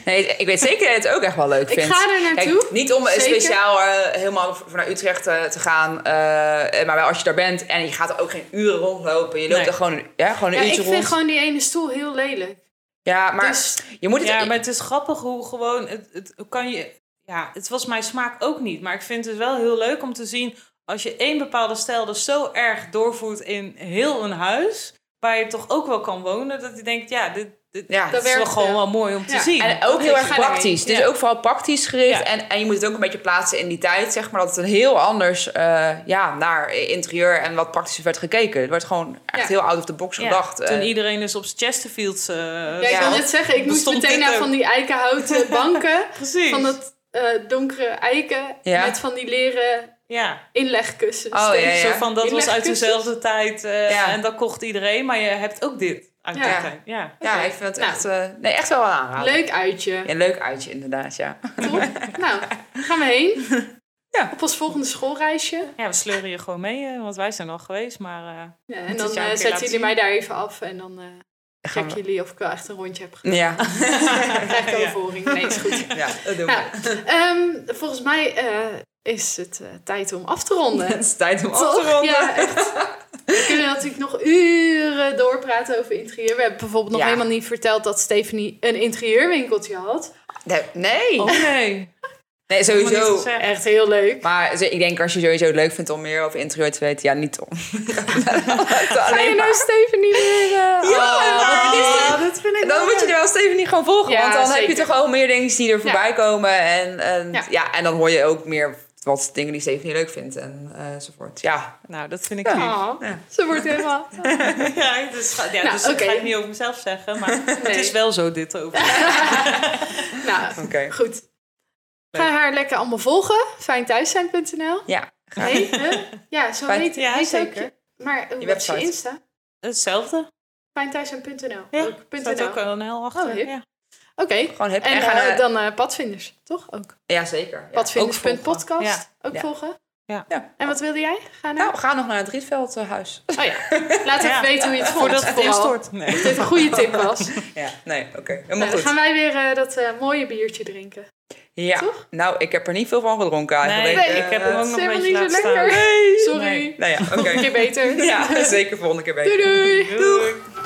Speaker 3: Nee, ik weet zeker dat je het ook echt wel leuk
Speaker 2: Ik
Speaker 3: vindt.
Speaker 2: ga er
Speaker 3: Kijk,
Speaker 2: naartoe.
Speaker 3: niet om eh,
Speaker 2: Zeker.
Speaker 3: speciaal eh, helemaal v- naar Utrecht eh, te gaan. eh, eh, maar wel als je daar bent en je gaat er ook geen uren rondlopen. Je loopt
Speaker 4: Nee.
Speaker 3: er gewoon een, ja, gewoon een
Speaker 2: Ja, ik
Speaker 3: uurtje
Speaker 2: vind
Speaker 3: rond.
Speaker 2: gewoon die ene stoel heel lelijk.
Speaker 3: Ja, maar
Speaker 2: Dus
Speaker 3: je moet het...
Speaker 4: ja, maar het is grappig hoe gewoon, het, het kan je, ja, het was mijn smaak ook niet. Maar ik vind het wel heel leuk om te zien als je één bepaalde stijl dus zo erg doorvoert in heel een huis, waar je toch ook wel kan wonen, dat je denkt, ja, dit, dit
Speaker 3: Ja.
Speaker 4: dat
Speaker 2: Dat
Speaker 4: is wel
Speaker 2: werkt,
Speaker 4: gewoon
Speaker 2: ja.
Speaker 4: wel mooi om te
Speaker 2: Ja.
Speaker 4: zien.
Speaker 3: En ook heel
Speaker 2: Ik
Speaker 3: erg
Speaker 2: ga daarmee.
Speaker 3: praktisch. Dus
Speaker 4: Ja.
Speaker 3: ook vooral praktisch gericht.
Speaker 4: Ja.
Speaker 3: En, en je moet het ook een beetje plaatsen in die tijd, zeg maar. Dat het een heel anders eh, ja, naar interieur en wat praktischer werd gekeken. Het werd gewoon echt
Speaker 2: Ja.
Speaker 3: heel out of the box
Speaker 4: Ja,
Speaker 3: gedacht.
Speaker 4: Toen
Speaker 3: Eh,
Speaker 4: iedereen dus op Chesterfields... eh
Speaker 2: ja, ik
Speaker 3: ja,
Speaker 2: wil
Speaker 3: want
Speaker 2: net zeggen, ik moest
Speaker 4: bestond
Speaker 2: meteen
Speaker 4: dit
Speaker 2: naar
Speaker 4: ook.
Speaker 2: van die eikenhouten banken.
Speaker 4: Precies.
Speaker 2: van dat eh, donkere eiken
Speaker 3: Ja.
Speaker 2: met van die leren
Speaker 4: ja.
Speaker 2: inlegkussens. Dus
Speaker 3: Oh, ja, ja.
Speaker 4: Zo van, dat
Speaker 2: Die
Speaker 4: was uit
Speaker 2: legkussens.
Speaker 4: dezelfde tijd eh,
Speaker 3: Ja.
Speaker 4: en dat kocht iedereen, maar je hebt ook dit uit
Speaker 2: Ja.
Speaker 4: die tijd. Ja.
Speaker 3: ja, ik vind het
Speaker 2: Nou.
Speaker 3: echt, eh, nee, echt wel een aanrader.
Speaker 2: Leuk uitje.
Speaker 3: Ja, leuk uitje inderdaad, ja.
Speaker 2: Top. nou, gaan we heen.
Speaker 3: Ja.
Speaker 2: Op ons volgende schoolreisje.
Speaker 4: ja, we sleuren je gewoon mee, eh, want wij zijn al geweest, maar... eh,
Speaker 2: Ja, en
Speaker 4: Moet
Speaker 2: dan
Speaker 4: het jou een
Speaker 2: eh,
Speaker 4: keer
Speaker 2: zetten
Speaker 4: laten
Speaker 2: jullie mij daar even af en dan eh
Speaker 3: Gaan
Speaker 2: checken
Speaker 3: we-
Speaker 2: jullie of ik wel echt een rondje heb gedaan.
Speaker 3: Ja,
Speaker 2: Dan krijg ik
Speaker 4: Ja.
Speaker 2: overhoring. Nee, is goed.
Speaker 3: ja dat doen we.
Speaker 2: Nou, ehm, volgens mij eh, is het eh, tijd om af te ronden.
Speaker 3: Het is tijd om af te
Speaker 2: Toch?
Speaker 3: ronden.
Speaker 2: Ja, echt. We kunnen natuurlijk nog uren doorpraten over interieur. We hebben bijvoorbeeld nog
Speaker 3: Ja.
Speaker 2: helemaal niet verteld dat Stephanie een interieurwinkeltje had.
Speaker 3: Nee, nee.
Speaker 4: Oh nee.
Speaker 3: Nee,
Speaker 4: Helemaal niet
Speaker 3: sowieso.
Speaker 4: gezegd.
Speaker 2: Echt heel leuk.
Speaker 3: Maar ze- ik denk als je sowieso het leuk vindt om meer over interieur te weten, ja, niet om.
Speaker 2: Ga je
Speaker 3: Alleen
Speaker 2: nou Stephanie weer... eh,
Speaker 3: Ja,
Speaker 2: oh,
Speaker 3: maar
Speaker 2: wat
Speaker 3: dit is
Speaker 2: lief.
Speaker 3: de-
Speaker 4: dat vind ik
Speaker 3: Dan moet je er wel Steven niet gewoon volgen.
Speaker 2: Ja,
Speaker 3: want dan heb je
Speaker 2: zeker.
Speaker 3: toch al meer dingen die er voorbij komen. En, en,
Speaker 2: Ja.
Speaker 3: ja. en dan hoor je ook meer wat dingen die Steven niet leuk vindt en, eh, enzovoort. Ja.
Speaker 4: Nou, dat vind ik lief. Ja,
Speaker 2: Oh, ze wordt helemaal...
Speaker 4: ja, dus, ja,
Speaker 2: Nou,
Speaker 4: dus dat
Speaker 2: oké.
Speaker 4: ga ik niet over mezelf zeggen, maar
Speaker 2: Nee.
Speaker 4: het is wel zo dit over.
Speaker 2: Nou,
Speaker 3: Oké.
Speaker 2: goed. Ga haar lekker allemaal volgen. Fijnthuiszijn.nl
Speaker 3: Ja. Graag.
Speaker 2: Nee, hè? Ja, zo
Speaker 3: Fijn-
Speaker 2: heet,
Speaker 4: Ja,
Speaker 2: heet
Speaker 4: zeker.
Speaker 2: ook je- Maar hoe
Speaker 3: Je
Speaker 2: heet je
Speaker 3: website.
Speaker 2: Insta?
Speaker 4: Hetzelfde.
Speaker 2: Fijnthuizen.nl.
Speaker 4: Ja,
Speaker 2: ook, punt
Speaker 4: staat
Speaker 2: NL.
Speaker 4: ook
Speaker 2: Oké,
Speaker 4: een heel achter.
Speaker 2: Oh, hip.
Speaker 4: ja.
Speaker 3: Gewoon heb
Speaker 2: en
Speaker 3: en gaan
Speaker 2: eh,
Speaker 3: naar-
Speaker 2: dan eh, Padvinders, toch? Ook.
Speaker 3: Ja, zeker. Ja.
Speaker 2: Padvinders.podcast,
Speaker 4: volgen. Ja.
Speaker 2: ook
Speaker 3: Ja.
Speaker 2: volgen.
Speaker 4: Ja.
Speaker 3: Ja.
Speaker 2: En wat wilde jij? Ga naar...
Speaker 3: Nou, ga nog naar het Rietveld eh, huis.
Speaker 2: Oh ja, laat even
Speaker 4: Ja.
Speaker 2: weten hoe je het vond.
Speaker 4: Voordat het
Speaker 2: Vooral.
Speaker 4: instort. Nee.
Speaker 2: Dat dit een goede tip was. Nou,
Speaker 3: Ja. Nee, oké. Helemaal
Speaker 2: dan
Speaker 3: goed.
Speaker 2: gaan wij weer eh, dat eh, mooie biertje drinken.
Speaker 3: Ja.
Speaker 2: Toch?
Speaker 3: Nou, ik heb er niet veel van gedronken eigenlijk.
Speaker 4: Nee,
Speaker 3: Eh,
Speaker 4: ik heb hem ook
Speaker 2: is
Speaker 4: nog een
Speaker 2: helemaal
Speaker 4: beetje
Speaker 2: niet
Speaker 4: laten
Speaker 2: zo
Speaker 4: staan.
Speaker 2: lekker.
Speaker 3: Nee.
Speaker 2: Sorry.
Speaker 3: Nee. Nou ja, oké.
Speaker 2: Een keer beter.
Speaker 3: Ja, zeker volgende keer beter.
Speaker 2: Doei doei.
Speaker 4: Doeg.